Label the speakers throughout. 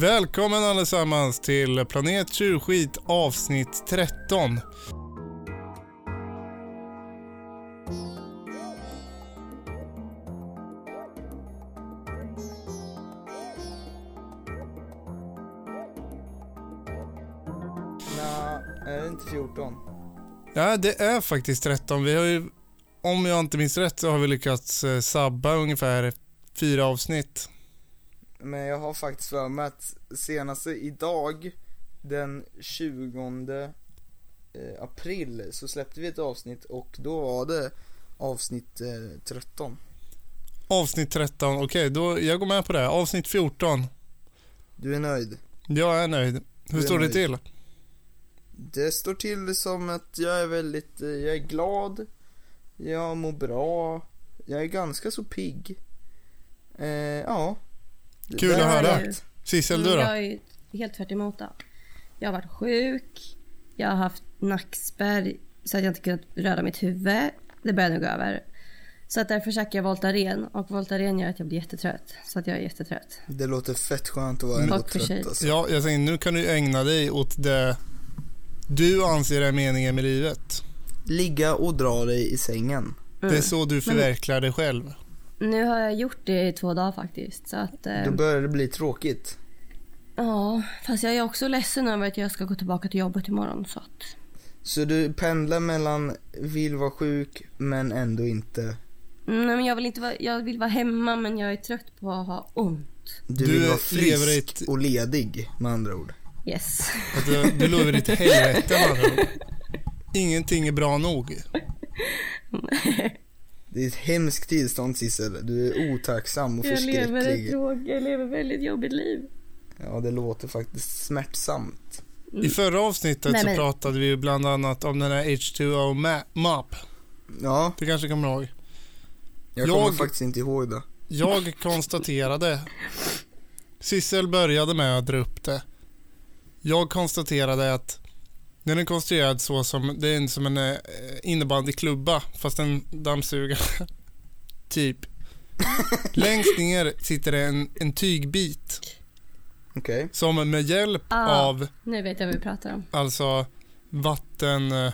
Speaker 1: Välkommen allesammans till Planet Tjurskit avsnitt 13.
Speaker 2: Nej, är det inte 14?
Speaker 1: Ja, det är faktiskt 13. Vi har ju, om jag inte minns rätt, så har vi lyckats eh, sabba ungefär fyra avsnitt.
Speaker 2: Men jag har faktiskt för mig att senaste idag, den 20 eh, april, så släppte vi ett avsnitt och då var det avsnitt eh, 13.
Speaker 1: Avsnitt 13, okej, då, jag går med på det. Avsnitt 14.
Speaker 2: Du är nöjd?
Speaker 1: Jag är nöjd. Hur
Speaker 2: Du är
Speaker 1: står det
Speaker 2: nöjd.
Speaker 1: till?
Speaker 2: Det står till som att jag är väldigt, eh, jag är glad, jag mår bra, jag är ganska så pigg. Eh, ja.
Speaker 1: Kul
Speaker 2: Det
Speaker 1: att
Speaker 2: här
Speaker 1: höra.
Speaker 2: är ett-
Speaker 1: Sissel,
Speaker 3: Mm,
Speaker 1: du då?
Speaker 3: Jag är ju helt tvärt emot det. Jag har varit sjuk. Jag har haft nackspärr så att jag inte kunnat röra mitt huvud. Det börjar nu gå över. Så att därför käkar jag Voltaren och Voltaren gör att jag blir jättetrött. Så att jag är jättetrött.
Speaker 2: Det låter fett skönt att vara
Speaker 3: Mm.
Speaker 2: ändå
Speaker 3: Tack för sig.
Speaker 2: trött alltså.
Speaker 1: Ja, jag tänkte nu kan du ägna dig åt det du anser är meningen med livet.
Speaker 2: Ligga och dra dig i sängen.
Speaker 3: Mm.
Speaker 1: Det är så du förverkligar dig själv.
Speaker 3: Nu har jag gjort det i två dagar faktiskt. Så att, eh,
Speaker 1: Ehm.
Speaker 2: Då börjar det bli tråkigt.
Speaker 3: ja, fast jag är också ledsen över att jag ska gå tillbaka till jobbet imorgon. Så att,
Speaker 2: Så du pendlar mellan vill vara sjuk men ändå inte.
Speaker 3: Mm, nej, men jag, vill inte vara, jag vill vara hemma men jag är trött på att ha ont.
Speaker 2: Du,
Speaker 1: Du
Speaker 2: vill vara
Speaker 1: lever i
Speaker 2: frisk
Speaker 1: ett-
Speaker 2: och ledig med andra ord.
Speaker 3: Yes.
Speaker 1: Att du, du lever i ditt helvete med andra ord. Ingenting är bra nog.
Speaker 2: Det är ett hemskt tillstånd Sissel. Du är otacksam och
Speaker 3: Jag lever, ett
Speaker 2: förskräcklig.
Speaker 3: drog, jag lever ett väldigt jobbigt liv.
Speaker 2: Ja, det låter faktiskt smärtsamt.
Speaker 1: I förra avsnittet
Speaker 3: Nej,
Speaker 1: så
Speaker 3: men-
Speaker 1: pratade vi ju bland annat om den här H2O ma- Map.
Speaker 2: Ja,
Speaker 1: Du kanske kommer ihåg?
Speaker 2: jag kommer
Speaker 1: Jag-
Speaker 2: faktiskt inte ihåg det.
Speaker 1: Jag konstaterade... Sissel började med att dra upp det. Jag konstaterade att den är konstruerad så som... Det är en- som en eh, innebandyklubba, fast en dammsugare. typ. Längst ner sitter det en, en tygbit
Speaker 2: Okej.
Speaker 1: som med hjälp
Speaker 3: Ah.
Speaker 1: av
Speaker 3: Nu vet jag vad vi pratar om.
Speaker 1: alltså vatten... eh,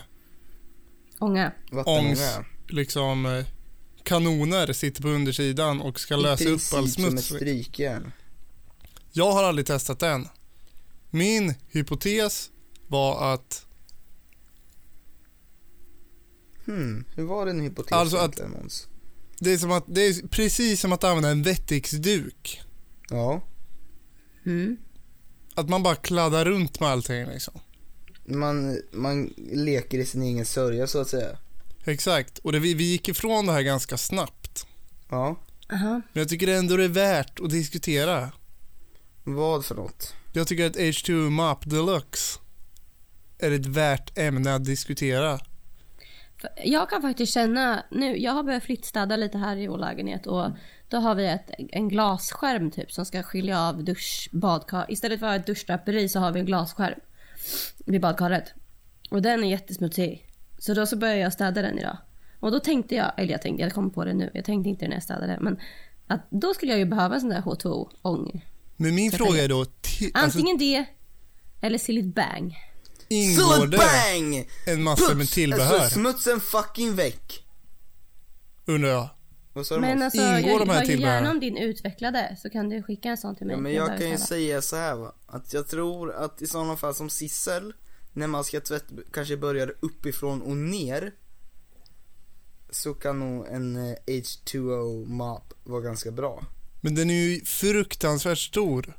Speaker 3: Ånga.
Speaker 2: Vattenånga.
Speaker 1: Ångs- liksom eh, kanoner sitter på undersidan och ska
Speaker 2: I
Speaker 1: lösa upp all
Speaker 2: princip som ett
Speaker 1: smuts.
Speaker 2: strykjärn.
Speaker 1: Jag har aldrig testat den. Min hypotes var att,
Speaker 2: Hmm, hur var den hypotesen
Speaker 1: Alltså att-
Speaker 2: egentligen Måns?
Speaker 1: det är, som att det är precis som att använda en vettiksduk.
Speaker 2: Ja,
Speaker 3: Mm.
Speaker 1: Att man bara kladdar runt med allting liksom.
Speaker 2: man, man leker i sin egen sörja så att säga.
Speaker 1: Exakt, och det, vi, vi gick ifrån det här ganska snabbt.
Speaker 2: Ja,
Speaker 3: Aha.
Speaker 1: Men jag tycker ändå det är värt att diskutera.
Speaker 2: vad för något?
Speaker 1: Jag tycker att H2 Map Deluxe är ett värt ämne att diskutera.
Speaker 3: För Jag kan faktiskt känna nu, jag har börjat flyttstäda lite här i vår lägenhet och då har vi ett, en glasskärm typ som ska skilja av dusch, badkar. Istället för att ha ett duschdraperi så har vi en glasskärm vid badkaret. Och den är jättesmutsig. Så då så började jag städa den idag. Och då tänkte jag, eller jag tänkte, jag kom på det nu, jag tänkte inte det när jag städade, men att då skulle jag ju behöva en sån där H2O-ång.
Speaker 1: Men min
Speaker 3: Jag
Speaker 1: fråga
Speaker 3: tänker-
Speaker 1: är då, ti- alltså,
Speaker 3: Antingen det eller Sillit Bang.
Speaker 1: ingår
Speaker 2: Solid
Speaker 1: det
Speaker 2: bang!
Speaker 1: en massa med tillbehör?
Speaker 2: Alltså smutsen fucking väck!
Speaker 1: Undrar jag.
Speaker 2: Vad sa du
Speaker 3: Men
Speaker 2: Måns?
Speaker 3: alltså,
Speaker 1: Ingår
Speaker 3: jag
Speaker 1: de här
Speaker 3: hör ju
Speaker 1: tillbehören?
Speaker 3: gärna om din utvecklade så kan du skicka en sån till mig.
Speaker 2: ja, men
Speaker 3: Jag
Speaker 2: jag
Speaker 3: behöver
Speaker 2: kan ju
Speaker 3: städa.
Speaker 2: säga så här va, att jag tror att i sådana fall som Sissel, när man ska tvätta, kanske börjar uppifrån och ner, så kan nog en eh, H2O mop vara ganska bra.
Speaker 1: Men den är ju fruktansvärt stor.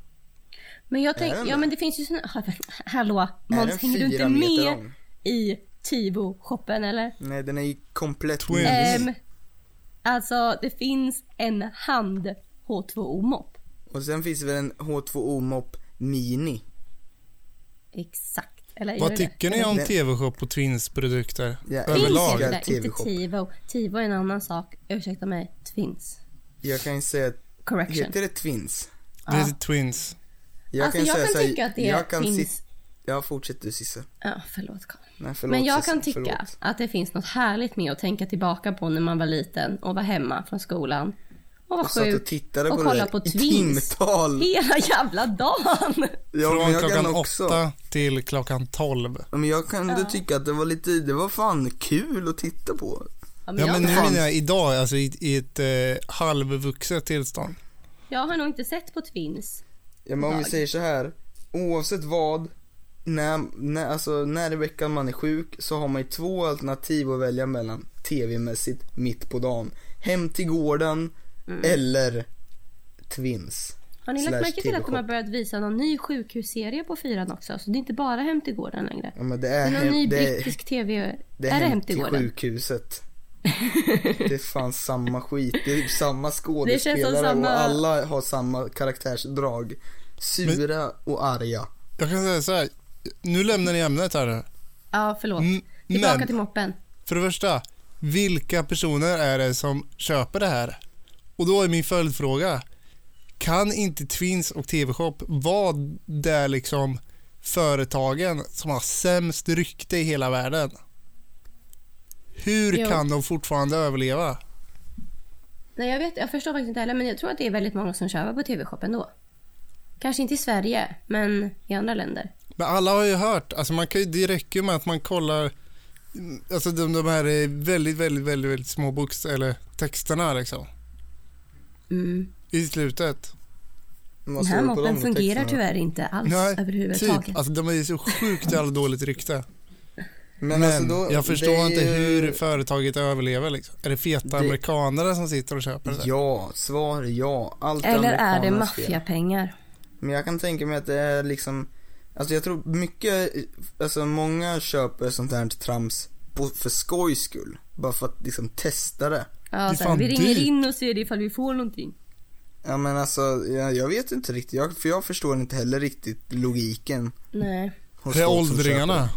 Speaker 3: Men jag
Speaker 2: Är den
Speaker 3: tänker, ja
Speaker 2: det?
Speaker 3: men det finns ju såna... Hallå,
Speaker 2: är
Speaker 3: Måns,
Speaker 2: den
Speaker 3: hänger du inte
Speaker 2: fyra
Speaker 3: med
Speaker 2: meter lång?
Speaker 3: i Tibo-shoppen eller?
Speaker 2: Nej den är ju komplett
Speaker 1: Twins.
Speaker 2: mini.
Speaker 3: Ehm, alltså, det finns en hand H2O-mopp.
Speaker 2: Och sen finns det väl en H2O mop mini.
Speaker 3: Exakt. Eller gör
Speaker 1: Vad
Speaker 3: det?
Speaker 1: tycker ni om
Speaker 2: Nej.
Speaker 1: TV-shop och Twins produkter?
Speaker 2: Jag
Speaker 3: Twins
Speaker 1: överlag?
Speaker 3: heter
Speaker 2: älskar
Speaker 3: det, inte
Speaker 2: TV-shop.
Speaker 3: Tivo. Tivo är en annan sak. Ursäkta mig, Twins.
Speaker 2: Jag kan ju säga,
Speaker 3: Correction.
Speaker 2: heter det twins?
Speaker 1: Det heter Twins.
Speaker 2: Jag
Speaker 3: alltså,
Speaker 2: kan
Speaker 3: jag
Speaker 2: säga
Speaker 3: kan
Speaker 2: så här,
Speaker 3: tycka att det
Speaker 2: jag kan
Speaker 3: finns...
Speaker 2: sit- Ja, fortsätt du Sisse.
Speaker 3: Ja, förlåt Karl.
Speaker 2: Nej, förlåt,
Speaker 3: Men jag
Speaker 2: Sisse.
Speaker 3: kan tycka
Speaker 2: Förlåt.
Speaker 3: att det finns något härligt med att tänka tillbaka på när man var liten och var hemma från skolan Hon var
Speaker 2: och satt och
Speaker 3: sjuk.
Speaker 2: tittade
Speaker 3: Och
Speaker 2: på det
Speaker 3: kollade
Speaker 2: där
Speaker 3: på
Speaker 2: i
Speaker 3: Twins.
Speaker 2: timtal.
Speaker 3: Hela jävla dagen.
Speaker 2: Ja, men
Speaker 1: Från
Speaker 2: jag
Speaker 1: klockan
Speaker 2: kan också.
Speaker 1: åtta till klockan tolv.
Speaker 2: Ja, Men jag kunde tycka att det var lite, det var fan kul att titta på.
Speaker 3: Ja, men
Speaker 1: Ja, men
Speaker 3: jag,
Speaker 1: nu
Speaker 2: fan.
Speaker 1: menar jag idag, alltså i, i ett eh, halvvuxet tillstånd.
Speaker 3: jag har nog inte sett på Twins.
Speaker 2: Ja, men om vi
Speaker 3: Idag.
Speaker 2: säger så här. Oavsett vad, när, när, alltså, när i veckan man är sjuk så har man ju två alternativ att välja mellan tv-mässigt mitt på dagen. Hem till gården
Speaker 3: Mm.
Speaker 2: eller Twins.
Speaker 3: Har ni
Speaker 2: Slash
Speaker 3: lagt märke till att de har
Speaker 2: TV-shop.
Speaker 3: börjat visa någon ny sjukhusserie på fyran också? Så det är inte bara Hem till gården längre.
Speaker 2: Ja, men det
Speaker 3: Det
Speaker 2: är,
Speaker 3: är någon ny
Speaker 2: hem, det, är-
Speaker 3: brittisk TV.
Speaker 2: det är
Speaker 3: är det
Speaker 2: hem,
Speaker 3: Hem till
Speaker 2: till
Speaker 3: gården?
Speaker 2: sjukhuset. Det är fan samma skit. Det är samma skådespelare
Speaker 3: samma-
Speaker 2: och alla har samma karaktärsdrag. Sura och arga.
Speaker 1: Jag kan säga så här, nu lämnar ni ämnet här nu.
Speaker 3: Ja, förlåt.
Speaker 1: Mm,
Speaker 3: Tillbaka
Speaker 1: men-
Speaker 3: till moppen.
Speaker 1: För det första, vilka personer är det som köper det här? Och då är min följdfråga, kan inte Twins och TV-shop vara där liksom företagen som har sämst rykte i hela världen? Hur
Speaker 3: Jo.
Speaker 1: kan de fortfarande överleva?
Speaker 3: Nej, jag, vet, jag förstår faktiskt inte heller, men jag tror att det är väldigt många som köper på TV-shop ändå. Kanske inte i Sverige, men i andra länder.
Speaker 1: Men alla har ju hört, alltså man kan ju, det räcker ju med att man kollar mm, Alltså de, de här eh, väldigt, väldigt, väldigt, väldigt små books, eller texterna liksom.
Speaker 3: Mm.
Speaker 1: I slutet.
Speaker 2: Vad
Speaker 3: Den
Speaker 2: står
Speaker 3: här
Speaker 2: det på de
Speaker 3: moppen fungerar
Speaker 2: texterna?
Speaker 3: tyvärr inte alls
Speaker 1: Nej,
Speaker 3: överhuvudtaget.
Speaker 1: Typ, alltså de är ju så sjukt jävla dåligt rykte.
Speaker 2: Men,
Speaker 1: Men
Speaker 2: alltså då,
Speaker 1: jag förstår
Speaker 2: det är
Speaker 1: inte
Speaker 2: ju-
Speaker 1: hur företaget överlever. Liksom. Är det feta
Speaker 2: Det-
Speaker 1: amerikanare som sitter och köper det?
Speaker 2: Ja, svar ja. Allt
Speaker 3: Eller är det
Speaker 2: amerikanernas fel.
Speaker 3: maffiapengar?
Speaker 2: Men jag kan tänka mig att det är liksom, alltså jag tror mycket, alltså många köper sånt här trams på, för skojs skull. Bara för att liksom testa det.
Speaker 1: Det är
Speaker 3: Ja, så här,
Speaker 1: fan
Speaker 3: vi ringer
Speaker 1: dyrt.
Speaker 3: in och ser ifall vi får någonting.
Speaker 2: Ja men alltså, jag, jag vet inte riktigt, jag, för jag förstår inte heller riktigt logiken.
Speaker 3: Nej.
Speaker 2: hos
Speaker 1: Det är
Speaker 2: folk som köper
Speaker 1: åldringarna.
Speaker 2: det.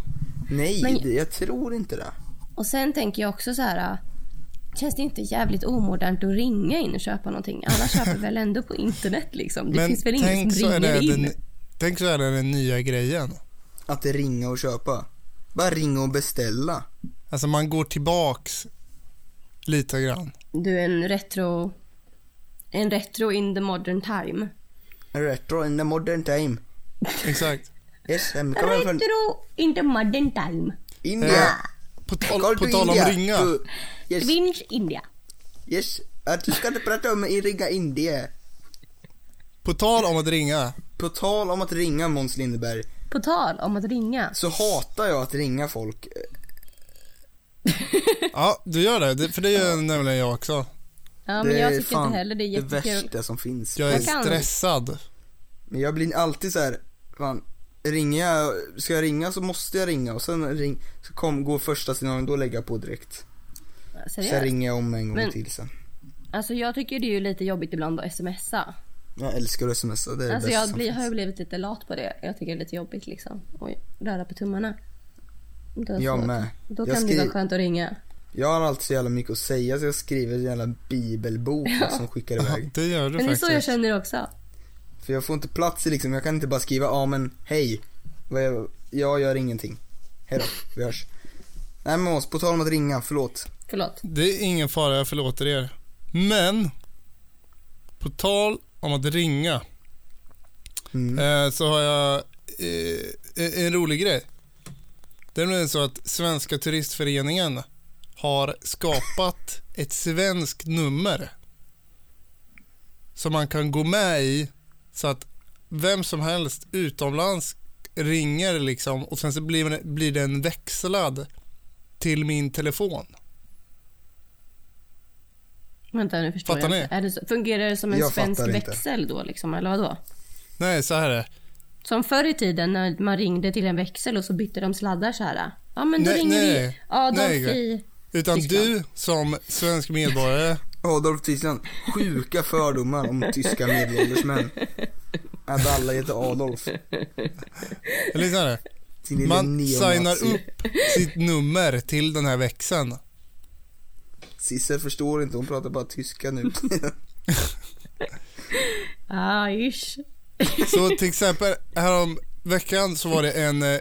Speaker 2: Nej,
Speaker 3: Men-
Speaker 2: det, jag tror inte det.
Speaker 3: Och sen tänker jag också så här. äh, Känns det inte jävligt omodernt att ringa in och köpa någonting? Alla köper väl ändå på internet liksom? Det
Speaker 1: Men
Speaker 3: finns väl ingen
Speaker 1: tänk så,
Speaker 3: som
Speaker 1: är det
Speaker 3: ringer in?
Speaker 1: den, tänk så är det den nya grejen.
Speaker 2: Att det ringa och köpa. Bara ringa och beställa.
Speaker 1: Alltså man går tillbaks lite grann.
Speaker 3: Du är en retro... En retro in the modern time.
Speaker 2: Retro in the modern time.
Speaker 1: Exakt.
Speaker 2: Yes, I'm coming from
Speaker 3: Retro in the modern time.
Speaker 2: India.
Speaker 1: Eh, På, tal,
Speaker 2: Call
Speaker 1: på
Speaker 2: to
Speaker 1: tal om
Speaker 2: India.
Speaker 1: ringa.
Speaker 2: To- Yes.
Speaker 3: Twins India.
Speaker 2: Yes, att du ska inte prata om i ringa Indien.
Speaker 1: På tal om att ringa.
Speaker 2: På tal om att ringa Måns Lindeberg,
Speaker 3: På tal om att ringa.
Speaker 2: så hatar jag att ringa folk.
Speaker 1: Ja, du gör det. det. För det gör nämligen jag också.
Speaker 3: Ja, men jag
Speaker 2: är
Speaker 3: tycker
Speaker 2: fan
Speaker 3: inte heller det är
Speaker 2: Det
Speaker 3: jättekul.
Speaker 2: värsta som finns. Alltså,
Speaker 1: Jag är
Speaker 3: Jag kan.
Speaker 1: stressad.
Speaker 2: Men jag blir alltid så här, fan, ringer jag, ska jag ringa så måste jag ringa och sen ring, så kom, går första signalen, då lägger jag på direkt. Sen
Speaker 3: Seriöst.
Speaker 2: ringer jag om en gång
Speaker 3: Men-
Speaker 2: till sen.
Speaker 3: Alltså jag tycker det är ju lite jobbigt ibland att smsa.
Speaker 2: Jag älskar att smsa, det är det
Speaker 3: Alltså
Speaker 2: bästa
Speaker 3: jag
Speaker 2: som
Speaker 3: blir, har ju
Speaker 2: finns.
Speaker 3: blivit lite lat på det. Jag tycker det är lite jobbigt liksom. Och röra på tummarna. Då,
Speaker 2: Jag
Speaker 3: så-
Speaker 2: med.
Speaker 3: Då
Speaker 2: Jag
Speaker 3: kan det
Speaker 2: skri-
Speaker 3: vara skönt att ringa.
Speaker 2: Jag har alltid så jävla mycket att säga så jag skriver en jävla bibelbok som skickar
Speaker 1: Ja,
Speaker 2: iväg.
Speaker 1: det gör du
Speaker 3: Men det är så jag
Speaker 1: faktiskt.
Speaker 3: känner också.
Speaker 2: För jag får inte plats i liksom, jag kan inte bara skriva ja men hej, Vad jag, jag gör ingenting. Hejdå, vi hörs. Nej men Måns, på tal om att ringa, förlåt.
Speaker 3: Förlåt.
Speaker 1: Det är ingen fara, jag förlåter er. Men, på tal om att ringa,
Speaker 2: Mm.
Speaker 1: eh, så har jag eh, en- en rolig grej. Det är nämligen så att Svenska Turistföreningen har skapat ett svenskt nummer som man kan gå med i så att vem som helst utomlands ringer liksom och sen så blir, blir den växlad till min telefon.
Speaker 3: Vänta nu förstår
Speaker 1: Fattar
Speaker 3: jag
Speaker 1: ni?
Speaker 3: inte. Är det så, fungerar det som en
Speaker 2: Jag
Speaker 3: svensk
Speaker 2: fattar inte.
Speaker 3: växel då liksom? Eller vadå?
Speaker 1: Nej, så här är det.
Speaker 3: Som förr i tiden när man ringde till en växel och så bytte de sladdar så här. Ja men då
Speaker 1: Nej,
Speaker 3: ringer vi
Speaker 1: nej.
Speaker 3: Adolf
Speaker 1: Nej.
Speaker 3: i...
Speaker 1: Utan
Speaker 3: Tyskland.
Speaker 1: du som svensk medborgare,
Speaker 2: Adolf Tyskland, sjuka fördomar om tyska medelålders män. Att alla heter Adolf.
Speaker 1: eller så här,
Speaker 2: Sin lille
Speaker 1: man
Speaker 2: neonazi.
Speaker 1: signar upp sitt nummer till den här växeln.
Speaker 2: Sissel förstår inte, hon pratar bara tyska nu.
Speaker 3: Ah, ish.
Speaker 1: Så till exempel härom veckan så var det en eh,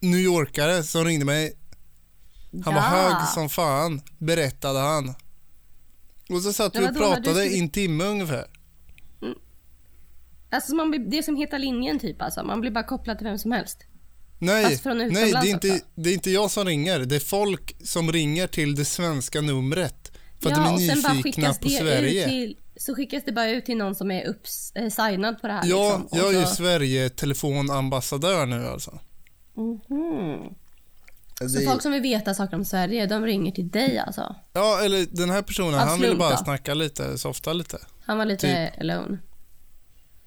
Speaker 1: New Yorkare som ringde mig. Han var
Speaker 3: Ja.
Speaker 1: hög som fan, berättade han. Och så satt
Speaker 3: Men
Speaker 1: vi och
Speaker 3: vadå, när du
Speaker 1: pratade
Speaker 3: skulle-
Speaker 1: i en timme ungefär.
Speaker 3: Alltså man blir, det är som Heta linjen typ alltså. Man blir bara kopplad till vem som helst.
Speaker 1: Nej,
Speaker 3: Fast från
Speaker 1: nej det, är
Speaker 3: utomlands
Speaker 1: inte,
Speaker 3: också.
Speaker 1: det är inte jag som ringer. Det är folk som ringer till det svenska numret. För att de är nyfikna på Sverige.
Speaker 3: ut till, så skickas det bara ut till någon som är upps, eh, signad på det här.
Speaker 1: ja,
Speaker 3: liksom. Och
Speaker 1: jag är ju
Speaker 3: så-
Speaker 1: Sverige-telefonambassadör nu alltså.
Speaker 3: Mhm.
Speaker 2: Det
Speaker 3: Så
Speaker 2: är-
Speaker 3: folk som vill veta saker om Sverige, de ringer till dig alltså?
Speaker 1: Ja, eller den här personen,
Speaker 3: Av
Speaker 1: han ville
Speaker 3: slump
Speaker 1: bara
Speaker 3: då?
Speaker 1: snacka lite, softa lite.
Speaker 3: Han var lite alone.
Speaker 1: Han Typ.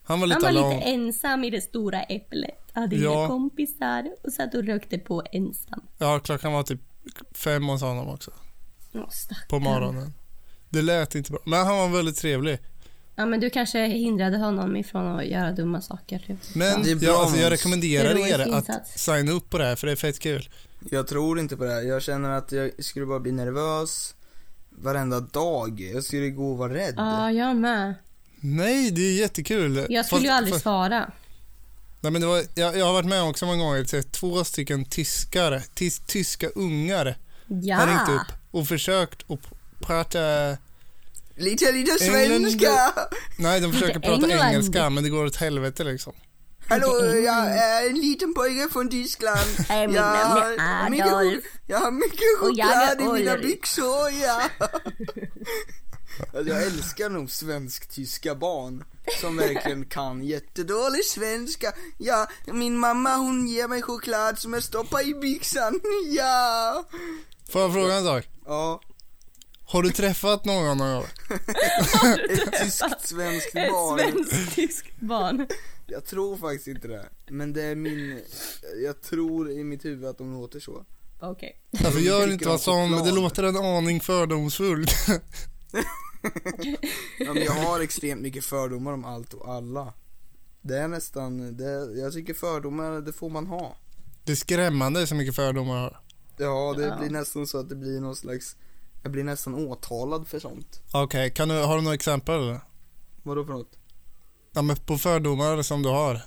Speaker 1: var
Speaker 3: Han
Speaker 1: lite
Speaker 3: var
Speaker 1: alone.
Speaker 3: lite ensam i det stora äpplet. Hade inga
Speaker 1: Ja.
Speaker 3: kompisar och satt och rökte på ensam.
Speaker 1: Ja, klockan var typ fem hos honom också,
Speaker 3: Åh, stackarn.
Speaker 1: på morgonen. Det lät inte bra, men han var väldigt trevlig.
Speaker 3: Ja, men du kanske hindrade honom ifrån att göra dumma saker. Typ.
Speaker 1: Men
Speaker 2: Det är bra,
Speaker 1: jag, alltså, jag
Speaker 2: Måns.
Speaker 1: rekommenderar
Speaker 3: Heroisk
Speaker 1: er att
Speaker 3: insats.
Speaker 1: signa upp på det här, för det är fett kul.
Speaker 2: Jag tror inte på det här. Jag känner att jag skulle bara bli nervös varenda dag. Jag skulle gå och vara rädd.
Speaker 3: Ja, jag med.
Speaker 1: Nej, det är jättekul.
Speaker 3: Jag skulle
Speaker 1: Fast-
Speaker 3: ju aldrig
Speaker 1: fast-
Speaker 3: svara.
Speaker 1: Nej, men det var, jag, jag har varit med också många gånger, till två stycken tyskar, tis, tyska ungar
Speaker 3: Ja.
Speaker 1: har ringt upp och försökt att prata
Speaker 2: Lite, lite
Speaker 1: England-
Speaker 2: svenska!
Speaker 1: Nej, de försöker
Speaker 3: Inte
Speaker 1: prata
Speaker 3: England.
Speaker 1: engelska, men det går åt helvete liksom.
Speaker 2: Hallå, jag är en liten pojke från Tyskland.
Speaker 3: Äh, mitt
Speaker 2: Jag
Speaker 3: namn är
Speaker 2: har mycket,
Speaker 3: Adolf.
Speaker 2: chok- jag har mycket
Speaker 3: Och jag är
Speaker 2: choklad i mina
Speaker 3: Ulrik.
Speaker 2: byxor, ja. Alltså, jag älskar nog svensk-tyska barn som verkligen kan jättedålig svenska. Ja, min mamma hon ger mig choklad som jag stoppar i byxan, ja.
Speaker 1: Får jag fråga en sak?
Speaker 2: Ja,
Speaker 1: Har du träffat någon någon gång?
Speaker 2: ett tyskt-svenskt
Speaker 3: Ett
Speaker 2: barn.
Speaker 3: svenskt-tyskt barn.
Speaker 2: Jag tror faktiskt inte det. Men det är min, jag tror i mitt huvud att de låter så.
Speaker 3: Okej.
Speaker 1: Alltså
Speaker 2: Jag
Speaker 1: gör
Speaker 2: tycker
Speaker 1: inte
Speaker 2: om
Speaker 1: vad som,
Speaker 2: choklad.
Speaker 1: det låter en aning fördomsfullt.
Speaker 2: Ja, men jag har extremt mycket fördomar om allt och alla. Det är nästan, det, jag tycker fördomar, det får man ha.
Speaker 1: Det är skrämmande så mycket fördomar jag har.
Speaker 2: Ja, det
Speaker 3: Ja.
Speaker 2: blir nästan så att det blir någon slags, jag blir nästan åtalad för sånt.
Speaker 1: Okej, kan du, har du några exempel? eller?
Speaker 2: Vadå för något?
Speaker 1: Ja men på fördomar som du har.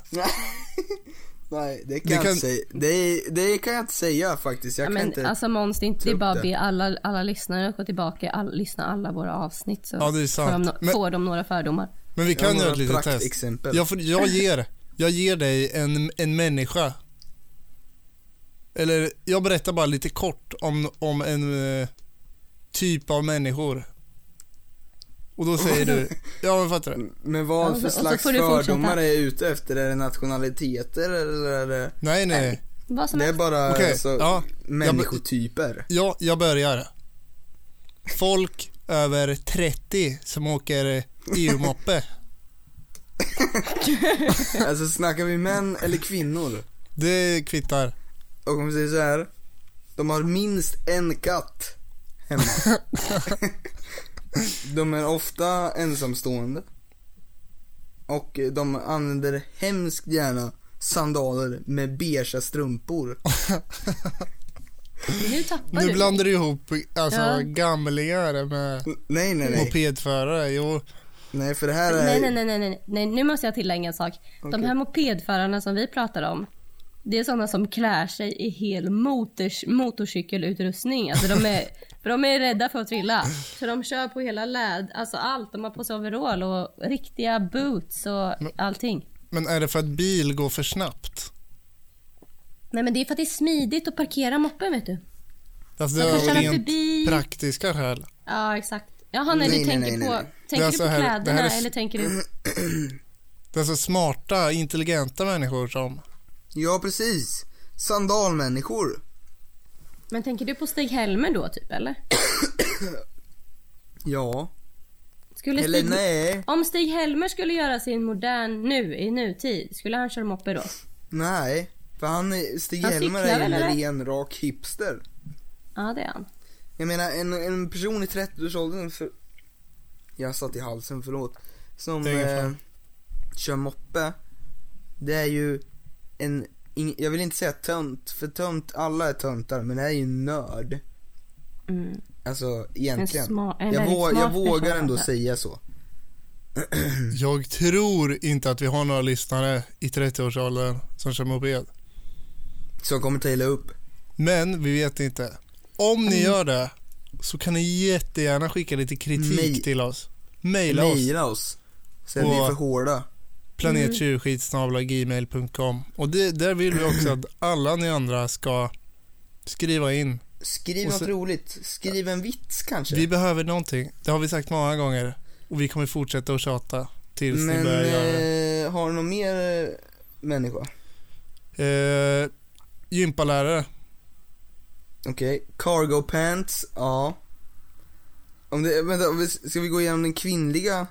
Speaker 2: Nej, det kan,
Speaker 1: Det
Speaker 2: jag
Speaker 1: kan-
Speaker 2: inte säga. Det, det kan jag inte säga faktiskt. Jag
Speaker 3: Ja,
Speaker 2: kan
Speaker 3: men
Speaker 2: inte.
Speaker 3: alltså Måns, det är inte
Speaker 2: ta
Speaker 3: det är
Speaker 2: upp
Speaker 3: bara
Speaker 2: det.
Speaker 3: att be alla, alla lyssnare att gå tillbaka och all, lyssna alla våra avsnitt så
Speaker 1: Ja, det är
Speaker 3: får, de,
Speaker 1: sant.
Speaker 3: no-
Speaker 1: Men-
Speaker 3: får de några fördomar.
Speaker 1: Men vi
Speaker 2: jag
Speaker 1: kan
Speaker 2: har
Speaker 1: göra
Speaker 2: några
Speaker 1: ett litet test.
Speaker 2: praktexempel.
Speaker 1: Jag, får, jag, ger, jag ger dig en, en människa. Eller jag berättar bara lite kort om, om en eh, typ av människor. Och då säger du, ja men fattar du?
Speaker 2: Mm, Men vad för
Speaker 3: Ja, och så- och så
Speaker 2: slags
Speaker 3: får du fortsätta.
Speaker 2: fördomar är jag ute efter? Är det nationaliteter eller är det?
Speaker 1: Nej, nej.
Speaker 3: Vad som
Speaker 2: Det är
Speaker 3: helst.
Speaker 2: bara
Speaker 1: Okej,
Speaker 2: alltså,
Speaker 1: ja.
Speaker 2: människotyper.
Speaker 1: Ja, jag börjar. Folk över 30 som åker EU-moppe.
Speaker 2: Alltså snackar vi män eller kvinnor?
Speaker 1: Det kvittar.
Speaker 2: Och om vi säger så här. De har minst en katt hemma. de är ofta ensamstående. Och de använder hemskt gärna sandaler med beiga strumpor.
Speaker 3: Nu tappar
Speaker 1: Nu
Speaker 3: du.
Speaker 1: blandar du ihop alltså,
Speaker 3: Ja.
Speaker 1: gamlingar med
Speaker 2: N- Nej, nej, nej.
Speaker 1: mopedförare. Jo,
Speaker 2: Nej, för det här är...
Speaker 3: Nej, nej, nej, nej, nej, nej, nu måste jag tillägga en sak. De
Speaker 2: Okej.
Speaker 3: här mopedförarna som vi pratar om, det är sådana som klär sig i hel motors, motorcykelutrustning. Alltså de är, för de är rädda för att trilla. Så de kör på hela läd, alltså allt. De har på sig overall och riktiga boots och allting.
Speaker 1: men är det för att bil går för snabbt?
Speaker 3: Nej men det är för att det är smidigt att parkera moppen vet du.
Speaker 1: Alltså, det
Speaker 3: Man kan
Speaker 1: är av
Speaker 3: köra
Speaker 1: rent
Speaker 3: förbi.
Speaker 1: praktiska skäl.
Speaker 3: Ja exakt. Jaha nej,
Speaker 2: Nej, nej,
Speaker 3: du tänker
Speaker 2: nej,
Speaker 3: på,
Speaker 2: nej, nej.
Speaker 3: Tänker
Speaker 1: Det är
Speaker 3: du
Speaker 1: så
Speaker 3: på
Speaker 1: här- det här
Speaker 3: kläderna
Speaker 1: är-
Speaker 3: eller tänker du...
Speaker 1: Det är alltså smarta, intelligenta människor som...
Speaker 2: Ja, precis. Sandalmänniskor.
Speaker 3: Men tänker du på Stig-Helmer då typ eller?
Speaker 2: Ja.
Speaker 3: Skulle
Speaker 2: Eller
Speaker 3: Stig...
Speaker 2: nej.
Speaker 3: Om Stig-Helmer skulle göra sin modern nu i nutid, skulle han köra moppe då?
Speaker 2: Nej. För han, är- Stig
Speaker 3: Han
Speaker 2: Helmer
Speaker 3: cyklar
Speaker 2: är ju
Speaker 3: väl, eller?
Speaker 2: en ren, rak hipster.
Speaker 3: Ja det är han.
Speaker 2: Jag menar en, en person i 30-årsåldern för... Jag satt i halsen, förlåt. Som
Speaker 1: Det är ingen
Speaker 2: eh, kör moppe. Det är ju en, ing- jag vill inte säga tönt, för tönt, alla är töntar, men det är ju en nörd.
Speaker 3: Mm.
Speaker 2: Alltså
Speaker 3: En
Speaker 2: egentligen.
Speaker 3: sma, en
Speaker 2: jag,
Speaker 3: väldigt
Speaker 2: vå-
Speaker 3: smart
Speaker 2: jag vågar
Speaker 3: person. alltså.
Speaker 2: ändå säga så.
Speaker 1: Jag tror inte att vi har några lyssnare i 30-årsåldern som kör moped.
Speaker 2: Så jag kommer ta illa upp. Mm.
Speaker 1: Men vi vet inte. Om ni gör det så kan ni jättegärna skicka lite kritik
Speaker 2: Nej.
Speaker 1: till oss. Maila oss.
Speaker 2: Mejla oss. Sen är vi
Speaker 1: Och-
Speaker 2: för hårda.
Speaker 1: planettjurskitsnabla.gmail.com Och det, där vill vi också att alla ni andra ska skriva in.
Speaker 2: Skriv
Speaker 1: Och
Speaker 2: något
Speaker 1: sen-
Speaker 2: roligt. Skriv en vits kanske.
Speaker 1: Vi behöver någonting. Det har vi sagt många gånger. Och vi kommer fortsätta att tjata tills ni
Speaker 2: Men
Speaker 1: börjar göra det.
Speaker 2: eh, har du någon mer eh, människa?
Speaker 1: Eh, gympalärare.
Speaker 2: Okej, cargo pants, ja. Om det, vänta, om vi- ska vi gå igenom den kvinnliga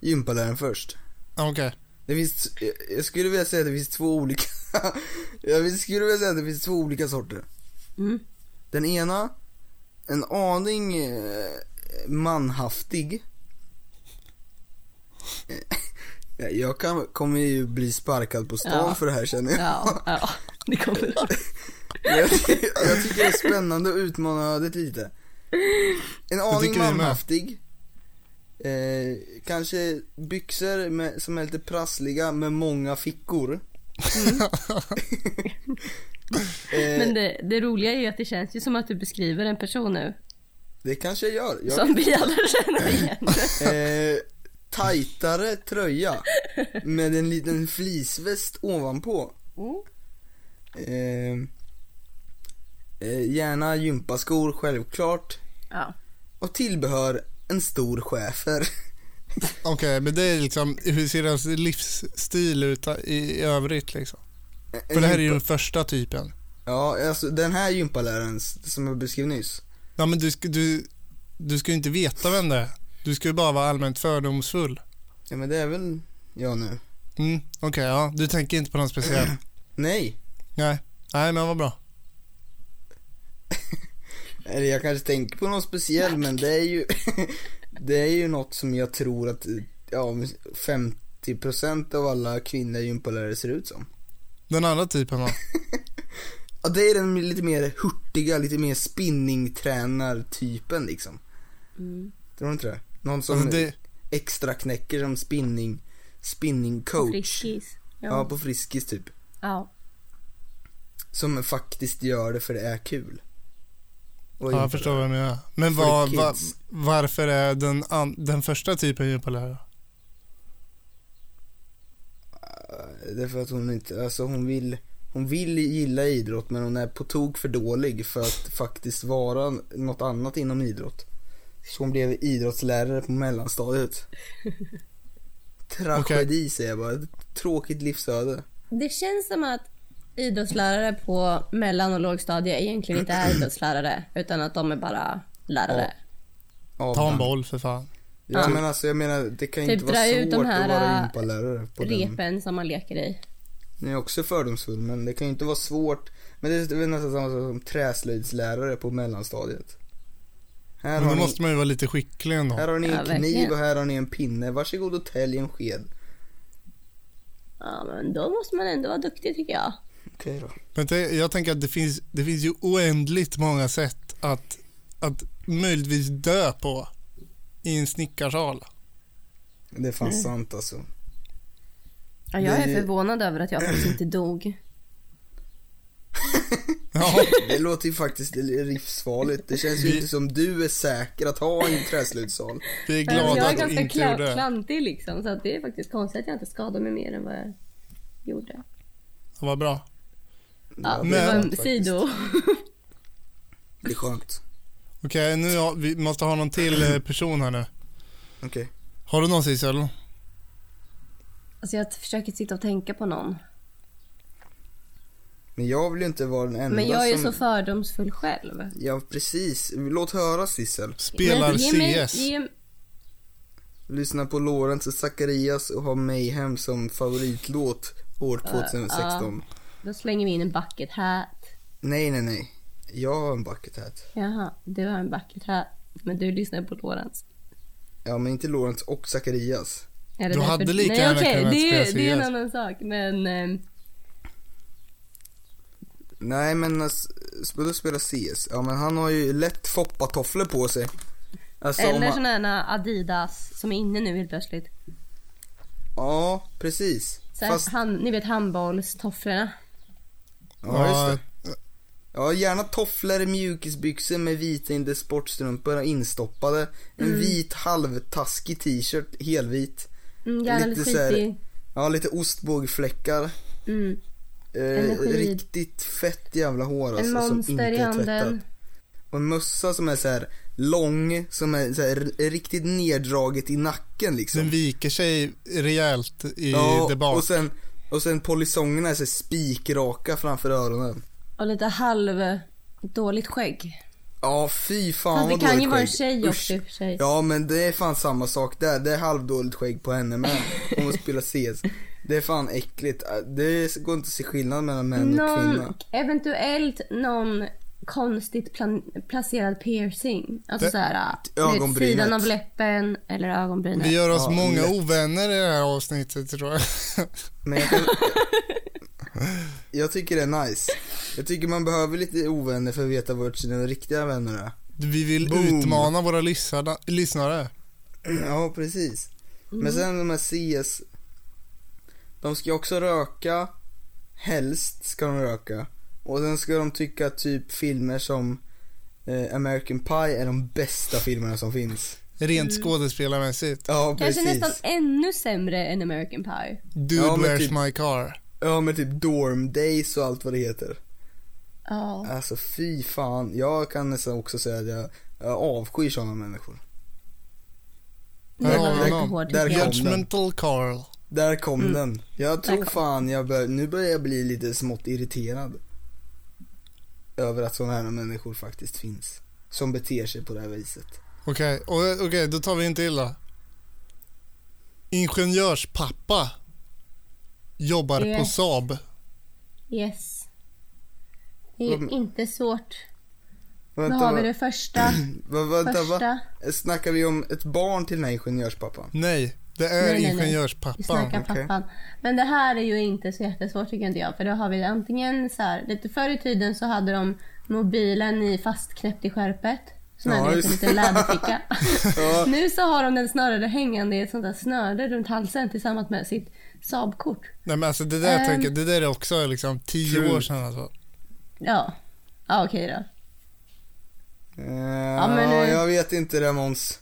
Speaker 2: gympaläraren först?
Speaker 1: Ah, Okej.
Speaker 2: Det finns, t- jag- jag skulle vilja säga att det finns två olika, jag vill- skulle vilja säga att det finns två olika sorter.
Speaker 3: Mm.
Speaker 2: Den ena, en aning eh, manhaftig. Eh, Jag kan, kommer ju bli sparkad på stan
Speaker 3: Ja.
Speaker 2: för det här känner jag.
Speaker 3: Ja, ja, det kommer jag.
Speaker 2: Jag, ty- jag tycker det är spännande att utmana ödet lite. En aning
Speaker 1: tycker vi med.
Speaker 2: manhaftig. Eh, kanske byxor med, som är lite prassliga med många fickor.
Speaker 1: Mm.
Speaker 2: eh,
Speaker 3: Men
Speaker 2: det...
Speaker 3: det, det roliga är ju att det känns ju som att du beskriver en person nu.
Speaker 2: kanske jag gör. Jag,
Speaker 3: Som vi alla känner igen.
Speaker 2: eh, tajtare tröja med en liten fleeceväst ovanpå.
Speaker 3: Mm.
Speaker 2: Eh, eh, gärna gympaskor självklart.
Speaker 3: Ja.
Speaker 2: Och tillbehör en stor schäfer.
Speaker 1: Okej, men det är liksom, hur ser deras livsstil ut i, i övrigt liksom? För det här är ju den första typen.
Speaker 2: Ja, alltså den här gympaläraren s- som jag beskrev nyss.
Speaker 1: Ja, men du ska, du, du ska ju inte veta vem det är. Du ska ju bara vara allmänt fördomsfull.
Speaker 2: Ja men det är väl jag nu.
Speaker 1: Mm, okej, ja. Du tänker inte på någon speciell?
Speaker 2: Nej.
Speaker 1: Nej. Nej, men vad bra.
Speaker 2: Eller jag kanske tänker på någon speciell men det är ju Det är ju något som jag tror att ja, 50% av alla kvinnliga gympalärare ser ut som.
Speaker 1: Den andra typen då?
Speaker 2: Ja det är den lite mer hurtiga, lite mer spinningtränartypen liksom.
Speaker 3: Mm.
Speaker 2: Tror du inte det? Någon som
Speaker 1: Alltså det,
Speaker 2: extra knäcker som spinning, spinningcoach.
Speaker 3: Friskis.
Speaker 2: Ja,
Speaker 3: Ja.
Speaker 2: på Friskis typ.
Speaker 3: ja.
Speaker 2: Som faktiskt gör det för det är kul. Och
Speaker 1: ja, jag förstår vad du menar. Men
Speaker 2: For
Speaker 1: vad,
Speaker 2: the
Speaker 1: va,
Speaker 2: kids.
Speaker 1: varför är den, an, den första typen gympalärare?
Speaker 2: Det är för att hon inte, alltså hon vill, hon vill gilla idrott men hon är på tok för dålig för att faktiskt vara något annat inom idrott. Så hon blev idrottslärare på mellanstadiet. Tragedi säger jag bara, Ett tråkigt livsöde.
Speaker 3: Det känns som att idrottslärare på mellan och lågstadiet egentligen inte är idrottslärare utan att de är bara lärare.
Speaker 2: Ja,
Speaker 1: Ta en
Speaker 2: men-
Speaker 1: boll för fan.
Speaker 2: Ja
Speaker 3: Ja.
Speaker 2: men alltså jag menar det kan ju
Speaker 3: Typ
Speaker 2: inte vara
Speaker 3: dra ut
Speaker 2: svårt
Speaker 3: de
Speaker 2: att
Speaker 3: här,
Speaker 2: vara
Speaker 3: äh,
Speaker 2: gympalärare på den.
Speaker 3: Repen som man leker i.
Speaker 2: Jag är också fördomsfull men det kan ju inte vara svårt. Men det är väl nästan samma sak som träslöjdslärare på mellanstadiet. Här
Speaker 1: Men
Speaker 2: har,
Speaker 1: då
Speaker 2: ni,
Speaker 1: måste man ju vara lite skicklig ändå.
Speaker 2: här har ni en
Speaker 3: Ja,
Speaker 2: kniv
Speaker 3: verkligen.
Speaker 2: och här har ni en pinne. Varsågod och tälj en sked.
Speaker 3: Ja, men då måste man ändå vara duktig tycker jag.
Speaker 2: Okej då.
Speaker 1: Men det, jag tänker att det finns, det finns ju oändligt många sätt att, att möjligtvis dö på i en snickarsal.
Speaker 2: Det är fan
Speaker 3: Mm.
Speaker 2: sant alltså.
Speaker 3: Ja, jag är
Speaker 2: Det-
Speaker 3: förvånad över att jag faktiskt inte dog.
Speaker 1: Ja,
Speaker 2: Det låter ju faktiskt livsfarligt. Det känns ju inte som du är säker att ha i en träslöjdssal.
Speaker 1: vi är
Speaker 3: Men alltså,
Speaker 1: glada
Speaker 3: jag är
Speaker 1: att du
Speaker 3: ganska
Speaker 1: inte gjorde
Speaker 3: kla-
Speaker 1: det.
Speaker 3: klantig liksom så att det är faktiskt konstigt att jag inte skadade mig mer än vad jag gjorde.
Speaker 1: Vad bra.
Speaker 3: Ja,
Speaker 1: Men-
Speaker 3: det var en
Speaker 2: faktiskt.
Speaker 3: sido.
Speaker 2: Det är skönt.
Speaker 1: Okej, nu har, vi måste ha någon till eh, person här nu.
Speaker 2: Okej.
Speaker 1: Har du någon Sissel?
Speaker 3: Alltså jag försöker sitta och tänka på någon.
Speaker 2: Men jag vill ju inte vara den enda
Speaker 3: Men jag är ju
Speaker 2: som...
Speaker 3: så fördomsfull själv.
Speaker 2: Ja precis. Låt höra Sissel.
Speaker 1: Spelar
Speaker 3: Men ge mig-
Speaker 1: CS.
Speaker 3: ge-
Speaker 2: Lyssna på Lorentz och Zacharias och ha Mayhem som favoritlåt år 2016.
Speaker 3: Då slänger vi in en bucket hat.
Speaker 2: Nej, nej, nej. Jag har en bucket hat.
Speaker 3: Jaha, du har en bucket hat. Men du lyssnar på Lorentz.
Speaker 2: Ja, men inte Lorentz och Zacharias.
Speaker 3: Är
Speaker 1: Du hade lika
Speaker 3: Nej,
Speaker 1: gärna
Speaker 3: okej,
Speaker 1: kunnat
Speaker 3: det, är-
Speaker 1: spela
Speaker 3: det är en
Speaker 1: CS.
Speaker 3: annan sak. Men ehm,
Speaker 2: Nej, men alltså, då spelar CS. Ja, men han har ju lätt foppatofflor på sig. Alltså, om
Speaker 3: eller
Speaker 2: han-
Speaker 3: såna här Adidas som är inne nu helt plötsligt.
Speaker 2: Ja, precis.
Speaker 3: Så här,
Speaker 2: Fast,
Speaker 3: han, ni vet handbollstofflorna.
Speaker 2: ja, just det. Ja, gärna tofflor, mjukisbyxor med vita in- sportstrumpor instoppade. En vit halvtaskig t-shirt, helvit.
Speaker 3: Mm, gärna
Speaker 2: Lite
Speaker 3: lite
Speaker 2: så här-
Speaker 3: skitig.
Speaker 2: Ja, lite ostbågfläckar.
Speaker 3: Mm.
Speaker 2: Eh,
Speaker 3: Energi.
Speaker 2: riktigt fett jävla hår
Speaker 3: En
Speaker 2: alltså, som inte
Speaker 3: monster i
Speaker 2: är tvättat.
Speaker 3: handen.
Speaker 2: Och en mössa som är så här lång, som är så här, r- riktigt neddraget i nacken liksom.
Speaker 1: Den viker sig rejält i
Speaker 2: ja,
Speaker 1: det bak.
Speaker 2: och sen, och sen polisongerna är så här spikraka framför öronen.
Speaker 3: Och lite halv dåligt skägg.
Speaker 2: Ja, fy fan
Speaker 3: Fast
Speaker 2: vad
Speaker 3: det kan ju
Speaker 2: dåligt
Speaker 3: vara en
Speaker 2: skägg.
Speaker 3: tjej
Speaker 2: Usch.
Speaker 3: också i och för sig.
Speaker 2: Ja men det är fan samma sak där, det är halvdåligt skägg på henne med. Om hon spelar CS. Det är fan äckligt. Det går inte att se skillnad mellan män och kvinna.
Speaker 3: någon, eventuellt någon konstigt plan- placerad piercing. Alltså
Speaker 1: Det-
Speaker 3: såhär, du vet,
Speaker 2: ögonbrynet.
Speaker 3: sidan av läppen eller ögonbrynet.
Speaker 1: Vi gör oss
Speaker 2: Ja,
Speaker 1: många
Speaker 2: lätt.
Speaker 1: ovänner i det här avsnittet tror jag.
Speaker 2: Men jag, kan... jag tycker det är nice. Jag tycker man behöver lite ovänner för att veta vart sina riktiga vänner är.
Speaker 1: Vi vill
Speaker 2: Boom.
Speaker 1: utmana våra lyssarna- lyssnare.
Speaker 3: Mm.
Speaker 2: Ja precis. Men sen de här CS. De ska ju också röka. Helst ska de röka. Och sen ska de tycka typ filmer som eh, American Pie är de bästa filmerna som finns.
Speaker 1: Rent
Speaker 3: Mm.
Speaker 1: skådespelarmässigt.
Speaker 2: Ja
Speaker 3: Kanske
Speaker 2: precis.
Speaker 3: nästan ännu sämre än American Pie.
Speaker 1: Dude
Speaker 2: Ja, men
Speaker 1: where's
Speaker 2: typ-
Speaker 1: my car.
Speaker 2: Ja men typ Dorm Days och allt vad det heter.
Speaker 3: Ja.
Speaker 2: Alltså fy fan. Jag kan nästan också säga att jag, jag avskyr sådana människor.
Speaker 3: Det
Speaker 1: Där
Speaker 3: var
Speaker 1: har vi
Speaker 3: lite
Speaker 1: någon.
Speaker 3: hårt.
Speaker 2: Där
Speaker 3: tycker jag.
Speaker 2: kom den.
Speaker 1: Judgmental Carl.
Speaker 2: Där kom den. Jag tror
Speaker 3: Mm. kom-
Speaker 2: fan jag bör, nu börjar jag bli lite smått irriterad. Över att sådana här människor faktiskt finns. Som beter sig på det här viset.
Speaker 1: Okej, och- okej då tar vi en till då. Ingenjörspappa jobbar på
Speaker 3: Yes.
Speaker 1: Saab.
Speaker 3: Yes. Det är ju
Speaker 2: Vad-
Speaker 3: inte svårt. Då
Speaker 2: Vänta,
Speaker 3: har vi
Speaker 2: va-
Speaker 3: det första.
Speaker 2: va, vänta va?
Speaker 3: första.
Speaker 2: Snackar vi om ett barn till den här ingenjörspappan?
Speaker 1: Nej, det är
Speaker 3: Nej, nej, nej. Vi
Speaker 1: ingenjörspappan.
Speaker 3: snackar
Speaker 2: okej.
Speaker 3: pappan. Men det här är ju inte så jättesvårt tycker inte jag. För då har vi antingen så här, lite förr i tiden så hade de mobilen i fastknäppt i skärpet. Sån här
Speaker 2: Ja,
Speaker 3: ja, en
Speaker 2: just-
Speaker 3: liten läderficka.
Speaker 2: Ja,
Speaker 3: nu så har de den snarare hängande i ett sånt där snöre runt halsen tillsammans med sitt Saab-kort.
Speaker 1: Nej men alltså det där
Speaker 3: Ehm.
Speaker 1: tänker, det där är också liksom tio
Speaker 2: True.
Speaker 1: år sedan alltså.
Speaker 3: Ja. Ja okej då.
Speaker 2: eh,
Speaker 3: men nu-
Speaker 2: jag vet inte det Måns.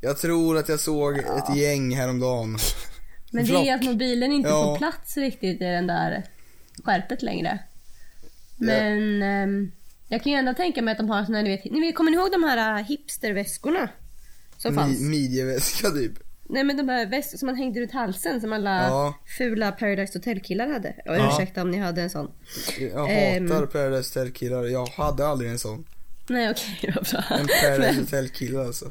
Speaker 2: Jag tror att jag såg ett gäng häromdagen.
Speaker 3: Men det är
Speaker 1: Vlock.
Speaker 3: att mobilen inte
Speaker 2: Ja.
Speaker 3: får plats riktigt i den där skärpet längre. Men ehm, jag kan ju ändå tänka mig att de har såna, ni vet, ni vet, kommer ni ihåg de här äh, hipsterväskorna? Som fanns?
Speaker 2: Mi- midjeväska typ.
Speaker 3: Nej men de här väskor som man hängde runt halsen som alla
Speaker 2: Ja.
Speaker 3: fula Paradise Hotel killar hade. Och
Speaker 1: Ja.
Speaker 3: ursäkta om ni hade en sån.
Speaker 2: Jag
Speaker 3: Ehm.
Speaker 2: hatar Paradise Hotel-killar. Jag hade aldrig en sån.
Speaker 3: Nej okej, vad bra.
Speaker 2: En Paradise Hotel-kille alltså.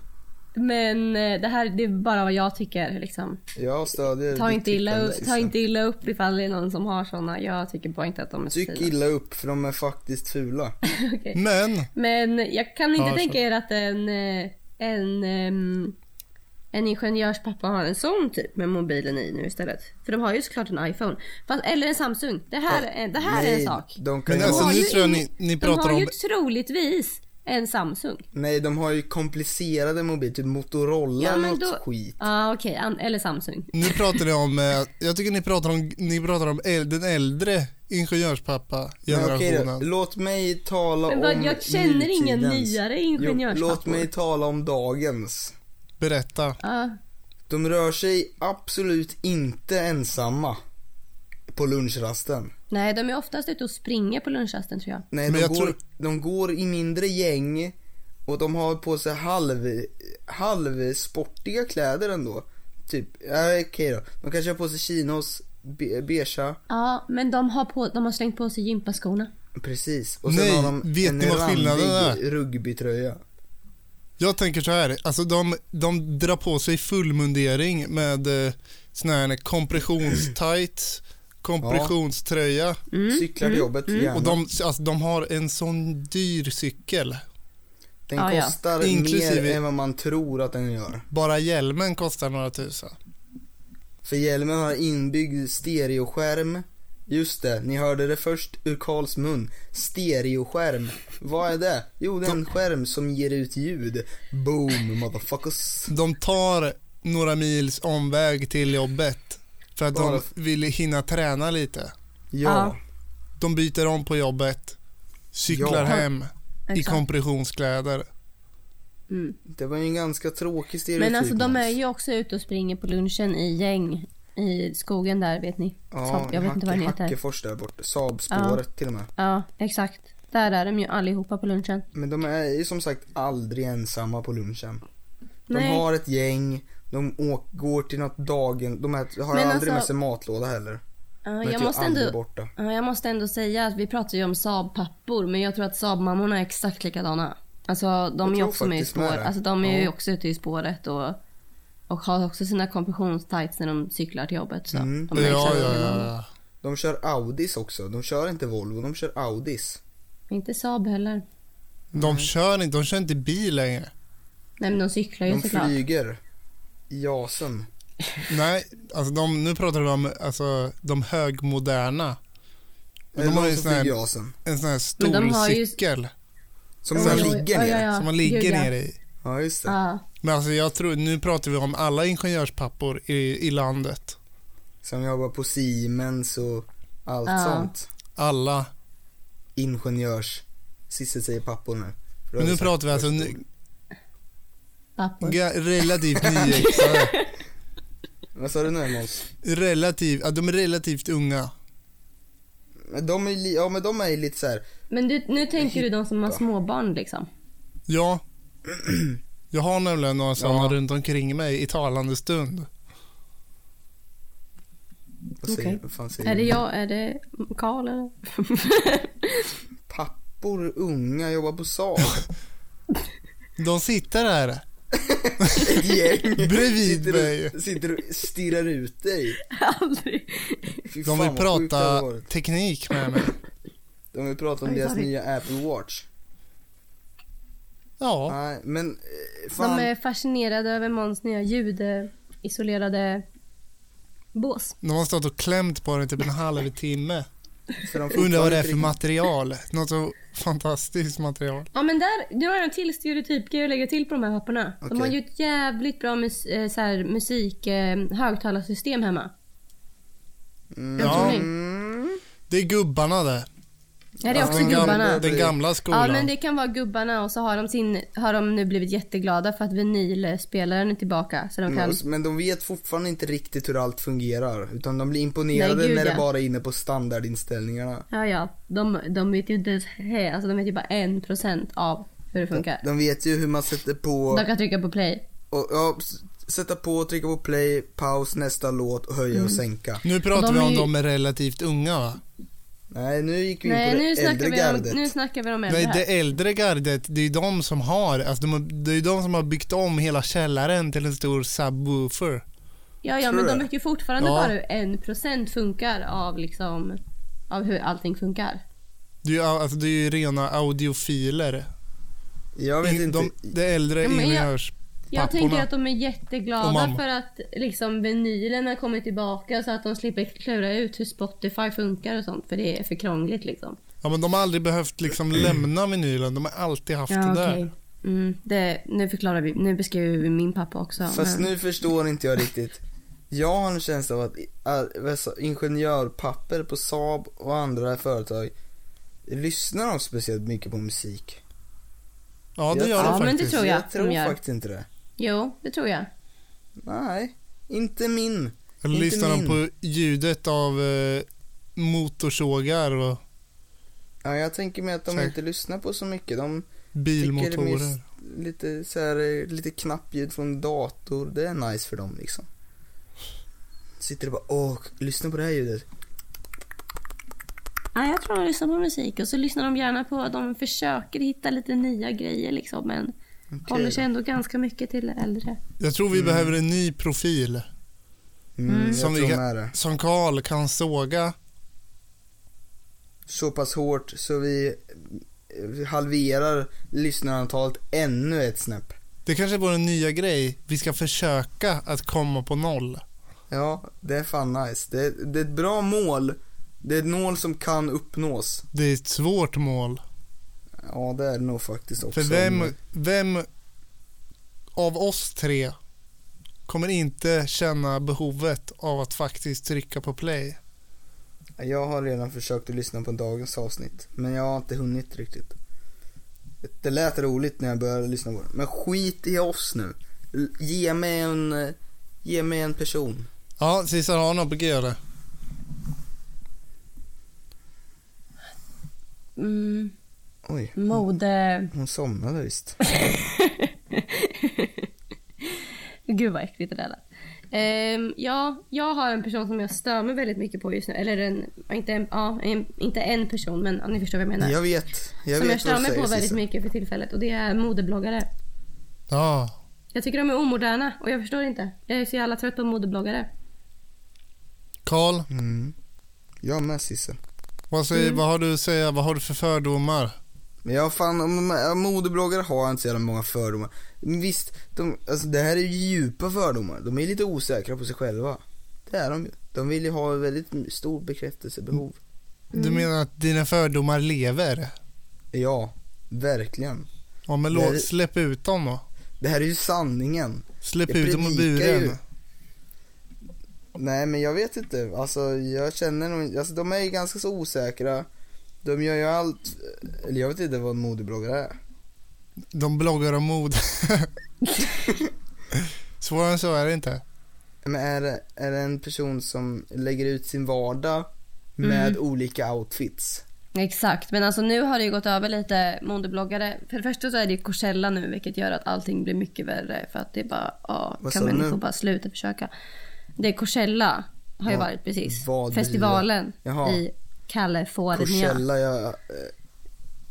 Speaker 3: Men eh, det här det är bara vad jag tycker liksom.
Speaker 2: Jag stödjer
Speaker 3: Ta
Speaker 2: ditt
Speaker 3: inte, illa,
Speaker 2: tyckande,
Speaker 3: upp- ta
Speaker 2: Sissi.
Speaker 3: inte illa upp ifall det är någon som har såna. Jag tycker bara inte att de är så
Speaker 2: Tyck
Speaker 3: fina.
Speaker 2: illa upp för de är faktiskt fula.
Speaker 3: Okej.
Speaker 1: Men,
Speaker 3: Men jag kan inte
Speaker 1: Ja,
Speaker 3: tänka
Speaker 1: så.
Speaker 3: er att en, eh, en, ehm, en ingenjörspappa har en sån typ med mobilen i nu istället. För de har ju såklart en iPhone. Fast, eller en Samsung. Det här, är- det här är en
Speaker 2: Nej,
Speaker 3: sak.
Speaker 2: De kan
Speaker 1: men
Speaker 2: ju
Speaker 1: alltså
Speaker 2: ha...
Speaker 3: har
Speaker 1: nu
Speaker 3: ju
Speaker 1: tror jag
Speaker 3: in-
Speaker 1: ni, ni
Speaker 3: De
Speaker 1: pratar
Speaker 3: har ju
Speaker 1: om...
Speaker 3: troligtvis en Samsung.
Speaker 2: Nej, de har ju komplicerade mobiler, typ Motorola
Speaker 3: Ja, men
Speaker 2: något
Speaker 3: då-
Speaker 2: skit.
Speaker 3: Ja okej, an- eller Samsung.
Speaker 1: Nu pratar ni om, eh, jag tycker ni pratar om, ni pratar om äl, den äldre
Speaker 2: Men okej
Speaker 1: ingenjörspappa-generationen.
Speaker 2: då, låt mig tala
Speaker 3: Men vad-
Speaker 2: om
Speaker 3: jag känner ingen
Speaker 2: nutidens.
Speaker 3: nyare
Speaker 2: Jo,
Speaker 3: ingenjörspappor.
Speaker 2: låt mig tala om dagens.
Speaker 1: Berätta.
Speaker 3: Ja.
Speaker 2: De rör sig absolut inte ensamma på lunchrasten.
Speaker 3: nej, de är oftast ute och springer på lunchrasten tror jag.
Speaker 2: Nej,
Speaker 1: Men
Speaker 2: de
Speaker 1: jag
Speaker 2: går,
Speaker 1: tror-
Speaker 2: de går i mindre gäng och de har på sig halv, halv sportiga kläder ändå. Typ, ja, okej då. De kanske har på sig chinos, be- beigea,
Speaker 3: Ja, men de har, på, de har slängt på sig gympaskorna.
Speaker 2: precis. Och sen
Speaker 1: Nej,
Speaker 2: har de
Speaker 1: vet
Speaker 2: en
Speaker 1: ni vad skillnaden
Speaker 2: randig rugbytröja.
Speaker 1: Jag tänker så här, alltså de, de drar på sig fullmundering med eh, sån här kompressionstights, kompressionströja
Speaker 3: Mm.
Speaker 2: Cyklar till jobbet gärna.
Speaker 1: och de, alltså, de har en sån dyr cykel.
Speaker 2: Den
Speaker 3: Ja, ja.
Speaker 2: kostar
Speaker 1: Inklusive-
Speaker 2: mer än vad man tror att den gör.
Speaker 1: Bara hjälmen kostar några tusen.
Speaker 2: För hjälmen har inbyggd stereoskärm. Just det, ni hörde det först ur Karls mun. Stereoskärm. Vad är det? Jo, det är en skärm som ger ut ljud. Boom, motherfuckers.
Speaker 1: De tar några mils omväg till jobbet för att de
Speaker 2: Bara-
Speaker 1: vill hinna träna lite.
Speaker 2: Ja.
Speaker 3: Ja.
Speaker 1: De byter om på jobbet, Cyklar
Speaker 2: Ja.
Speaker 1: hem i
Speaker 3: Exakt.
Speaker 1: kompressionskläder.
Speaker 3: Mm.
Speaker 2: Det var ju en ganska tråkig stereotyp.
Speaker 3: Men alltså de
Speaker 2: Mats.
Speaker 3: är ju också ute och springer på lunchen i gäng i skogen där vet ni. Saab- jag vet inte vad den
Speaker 2: Hacke-
Speaker 3: heter.
Speaker 2: Hackefors där borta. Saabspåret till och med.
Speaker 3: Ja, exakt. Där är de ju allihopa på lunchen.
Speaker 2: Men de är ju som sagt aldrig ensamma på lunchen. De
Speaker 3: Nej.
Speaker 2: har ett gäng, de åk, går till något dagen, de äter, har
Speaker 3: Men
Speaker 2: aldrig
Speaker 3: alltså-
Speaker 2: med sig matlåda heller.
Speaker 3: Ja,
Speaker 2: De äter
Speaker 3: jag,
Speaker 2: ju
Speaker 3: måste
Speaker 2: aldrig
Speaker 3: ändå,
Speaker 2: borta.
Speaker 3: ja, jag måste ändå säga att vi pratar ju om Saab-pappor men jag tror att Saab-mammorna är exakt likadana. Alltså de är ju
Speaker 2: tror
Speaker 3: också med i
Speaker 2: faktiskt med
Speaker 3: spår.
Speaker 2: det.
Speaker 3: Alltså de är ju
Speaker 2: Ja.
Speaker 3: också ute i spåret och, och har också sina kompressionstajts när de cyklar till jobbet. Så
Speaker 2: Mm.
Speaker 3: de
Speaker 1: Ja,
Speaker 3: är
Speaker 1: ja,
Speaker 3: exakt
Speaker 1: ja,
Speaker 3: likadana.
Speaker 1: ja.
Speaker 2: De kör Audis också, de kör inte Volvo, de kör Audis.
Speaker 3: Inte Saab heller.
Speaker 1: De kör inte, de kör inte bil längre.
Speaker 3: Nej men de cyklar ju
Speaker 2: De
Speaker 3: såklart.
Speaker 2: flyger. Jasen.
Speaker 1: Nej, alltså de, nu pratar vi om alltså, de högmoderna.
Speaker 2: De,
Speaker 1: Men de har ju
Speaker 2: som
Speaker 1: sån här-
Speaker 2: flyger Jasen.
Speaker 1: En sån här stor
Speaker 3: Men de har ju-
Speaker 1: cykel
Speaker 2: Som
Speaker 1: Oj,
Speaker 2: man
Speaker 1: oj, oj,
Speaker 2: ligger
Speaker 3: oj, oj,
Speaker 2: ner.
Speaker 3: oj. Ja,
Speaker 1: som man ligger
Speaker 3: gud, ja.
Speaker 1: ner i.
Speaker 2: Ja, just det.
Speaker 3: Ja.
Speaker 1: Men alltså jag tror, nu pratar vi om alla ingenjörspappor i, i landet.
Speaker 2: Som jobbar på Siemens och allt
Speaker 3: Ja.
Speaker 2: sånt.
Speaker 1: Alla.
Speaker 2: Ingenjörs. Sisse säger pappor nu. För då
Speaker 1: Men
Speaker 2: har
Speaker 1: nu
Speaker 2: vi sagt
Speaker 1: pratar vi alltså
Speaker 2: först
Speaker 1: nu,
Speaker 2: ord.
Speaker 3: Pappor.
Speaker 1: ga- relativt nyexade.
Speaker 2: Vad sa du nu Måns?
Speaker 1: Relativ, ja, de är relativt unga.
Speaker 2: Men De är, li- ja, men de är ju lite så här.
Speaker 3: Men du, nu tänker du de som har småbarn liksom?
Speaker 1: Ja. Jag har nämligen några sådana
Speaker 2: Ja.
Speaker 1: runt omkring mig i talande stund.
Speaker 2: Vad säger,
Speaker 3: Okej.
Speaker 2: vad fan säger
Speaker 3: Är det
Speaker 2: du?
Speaker 3: jag, är det Karl eller?
Speaker 2: Pappor, unga, jobbar på Saab.
Speaker 1: De sitter här.
Speaker 2: Ett gäng.
Speaker 1: Bredvid
Speaker 2: sitter
Speaker 1: mig.
Speaker 2: Och, sitter och stirrar ut dig.
Speaker 3: Aldrig.
Speaker 2: Fy
Speaker 1: De
Speaker 2: fan,
Speaker 1: vill
Speaker 2: vad sjukt det hade
Speaker 1: prata
Speaker 2: varit.
Speaker 1: teknik med mig.
Speaker 2: De vill prata om
Speaker 3: Oj,
Speaker 2: deras
Speaker 3: sorry.
Speaker 2: nya Apple Watch.
Speaker 1: Ja,
Speaker 2: Nej, men eh, fan.
Speaker 3: De är fascinerade över Måns nya ljudisolerade bås.
Speaker 1: de har stått och klämt på den typ en halv timme.
Speaker 2: för de
Speaker 1: Undrar vad det är
Speaker 2: fortfarande
Speaker 1: för material. Något så fantastiskt material.
Speaker 3: Ja men där, du har en till stereotypgrej att lägga till på de här papporna. De
Speaker 2: Okej.
Speaker 3: har ju ett jävligt bra mus, eh, så här, musik, eh, högtalarsystem hemma.
Speaker 2: Mm.
Speaker 1: Ja.
Speaker 3: Tror ni?
Speaker 2: Mm.
Speaker 1: Det är gubbarna det.
Speaker 3: Är det också
Speaker 1: den, gam-
Speaker 3: gubbarna?
Speaker 1: den gamla
Speaker 3: Ja
Speaker 1: skolan.
Speaker 3: men det kan vara gubbarna och så har de, sin, har de nu blivit jätteglada för att vinylspelaren är tillbaka. Så de kan...
Speaker 2: Men- Men de vet fortfarande inte riktigt hur allt fungerar. Utan de blir imponerade
Speaker 3: Nej, gud,
Speaker 2: när det
Speaker 3: ja.
Speaker 2: bara är inne på standardinställningarna.
Speaker 3: Ja, ja. De, de vet ju inte ens he. Alltså de vet ju bara en procent av hur det funkar.
Speaker 2: De vet ju hur man sätter på,
Speaker 3: De kan trycka på play.
Speaker 2: och, ja, s- sätta på, trycka på play, paus, nästa låt och höja
Speaker 3: Mm.
Speaker 2: och sänka.
Speaker 1: Nu pratar
Speaker 3: Och de
Speaker 1: vi
Speaker 3: är
Speaker 1: om
Speaker 3: ju-
Speaker 1: de är relativt unga va?
Speaker 2: Nej, nu gick vi in
Speaker 3: Nej,
Speaker 2: på
Speaker 3: nu
Speaker 2: det
Speaker 3: snackar,
Speaker 2: äldre
Speaker 3: vi om,
Speaker 2: gardet.
Speaker 3: nu snackar vi om äldre
Speaker 1: Nej,
Speaker 3: här.
Speaker 1: det äldre gardet, det är ju de som har, alltså de, har- det är ju de som har byggt om hela källaren till en stor subwoofer.
Speaker 3: Ja, ja,
Speaker 2: Tror
Speaker 3: men
Speaker 2: du
Speaker 3: de
Speaker 2: det?
Speaker 3: vet ju fortfarande
Speaker 1: Ja.
Speaker 3: bara hur en procent funkar av liksom av hur allting funkar.
Speaker 1: Det är ju, alltså, det är ju rena audiofiler.
Speaker 2: Jag vet
Speaker 1: In-
Speaker 2: inte.
Speaker 1: Mm, de, det äldre
Speaker 3: Ja, men jag- Jag tänker
Speaker 1: ingenjörspapporna.
Speaker 3: att de är
Speaker 1: Och
Speaker 3: jätteglada
Speaker 1: mamma.
Speaker 3: för att liksom vinylen har kommit tillbaka så att de slipper klura ut hur Spotify funkar och sånt för det är för krångligt liksom.
Speaker 1: Ja, men de har aldrig behövt liksom
Speaker 2: Mm.
Speaker 1: lämna vinylen, de har alltid haft det där.
Speaker 3: okej. Mm, det, nu förklarar vi, nu beskriver vi min pappa också.
Speaker 2: Fast
Speaker 3: men-
Speaker 2: nu förstår inte jag riktigt. Jag har en känsla av att i- all- vad sa- ingenjörpapper på Saab och andra företag lyssnar de speciellt mycket på musik.
Speaker 1: Ja, det gör
Speaker 3: Ja,
Speaker 1: de
Speaker 3: men det
Speaker 1: faktiskt.
Speaker 3: tror jag
Speaker 2: Jag tror
Speaker 3: de gör.
Speaker 2: faktiskt inte det.
Speaker 3: Jo, det tror jag.
Speaker 2: Nej, inte min.
Speaker 1: Eller
Speaker 2: Inte
Speaker 1: lyssnar de
Speaker 2: min.
Speaker 1: på ljudet av eh, motorsågar och
Speaker 2: Ja, jag tänker mig att de
Speaker 1: Säg.
Speaker 2: inte lyssnar på så mycket. De tycker det är
Speaker 1: bilmotorer?
Speaker 2: mest lite så här, eh, lite knappljud från dator. Det är nice för dem liksom. Sitter och bara åh, lyssna på det här ljudet.
Speaker 3: Ja, jag tror de lyssnar på musik och så lyssnar de gärna på, de försöker hitta lite nya grejer liksom men håller sig ändå ganska mycket till äldre.
Speaker 1: Jag tror vi behöver en ny profil
Speaker 2: Mm,
Speaker 3: Mm.
Speaker 2: Jag
Speaker 1: Som vi
Speaker 2: tror
Speaker 1: kan-
Speaker 2: med det.
Speaker 1: som Karl kan såga.
Speaker 2: så pass hårt så vi eh, halverar lyssnarantalet ännu ett snäpp.
Speaker 1: Det kanske är vår nya grej. Vi ska försöka att komma på noll.
Speaker 2: Ja, det är fan nice. Det, det är ett bra mål. Det är ett mål som kan uppnås.
Speaker 1: Det är ett svårt mål.
Speaker 2: Ja, det är det nog faktiskt också.
Speaker 1: För vem, vem av oss tre kommer inte känna behovet av att faktiskt trycka på play?
Speaker 2: Jag har redan försökt att lyssna på dagens avsnitt, men jag har inte hunnit riktigt. Det lät roligt när jag började lyssna på det, men skit i oss nu. L- Ge mig en, eh, ge mig en person.
Speaker 1: Ja, Cesar har något på G eller?
Speaker 3: Mm,
Speaker 2: Oj,
Speaker 3: mode...
Speaker 2: hon somnade visst.
Speaker 3: Gud vad äckligt det där lät. Ehm, ja, jag har en person som jag stör mig väldigt mycket på just nu. Eller en, inte en, ja, en, inte en person men ja, ni förstår vad jag menar.
Speaker 2: Jag vet, jag
Speaker 3: som jag
Speaker 2: vet
Speaker 3: stör
Speaker 2: vad
Speaker 3: mig
Speaker 2: du
Speaker 3: på
Speaker 2: säger
Speaker 3: väldigt
Speaker 2: Sissa.
Speaker 3: mycket för tillfället och det är modebloggare.
Speaker 1: Ja.
Speaker 3: Jag tycker de är omoderna och jag förstår inte. Jag är så jävla trött på modebloggare.
Speaker 1: Karl,
Speaker 2: Mm. Jag med Sisse.
Speaker 1: vad, säger, vad har du att säga? Vad har du för fördomar?
Speaker 2: Men jag har fan, om- om modebloggare har inte så jävla många fördomar. Men Visst, de, alltså det här är ju djupa fördomar. De är lite osäkra på sig själva. Det är de ju. De vill ju ha ett väldigt stort bekräftelsebehov.
Speaker 1: Du menar att dina fördomar lever?
Speaker 2: Mm. Ja, verkligen.
Speaker 1: Ja, men
Speaker 2: Det är-
Speaker 1: låt, släpp ut dem då.
Speaker 2: Det här är ju sanningen.
Speaker 1: Släpp
Speaker 2: Jag
Speaker 1: ut dem ur
Speaker 2: predikar
Speaker 1: buren.
Speaker 2: ju. Nej men jag vet inte, alltså jag känner nog alltså de är ju ganska så osäkra. De gör ju allt, eller jag vet inte vad en modebloggare är.
Speaker 1: De bloggar om mode. Svårare än så är det inte.
Speaker 2: Men är det, är det en person som lägger ut sin vardag med olika outfits?
Speaker 3: Exakt, men alltså nu har det ju gått över lite modebloggare. För det första så är det ju Coachella nu vilket gör att allting blir mycket värre för att det är bara, ja,
Speaker 2: Vad
Speaker 3: kan
Speaker 2: sa du
Speaker 3: människor
Speaker 2: nu?
Speaker 3: bara sluta försöka. Det är Coachella har ju
Speaker 2: Vad-
Speaker 3: varit precis.
Speaker 2: vad blir det?
Speaker 3: Festivalen
Speaker 2: Jaha.
Speaker 3: i Kalifornien.
Speaker 2: Coachella, jag, eh,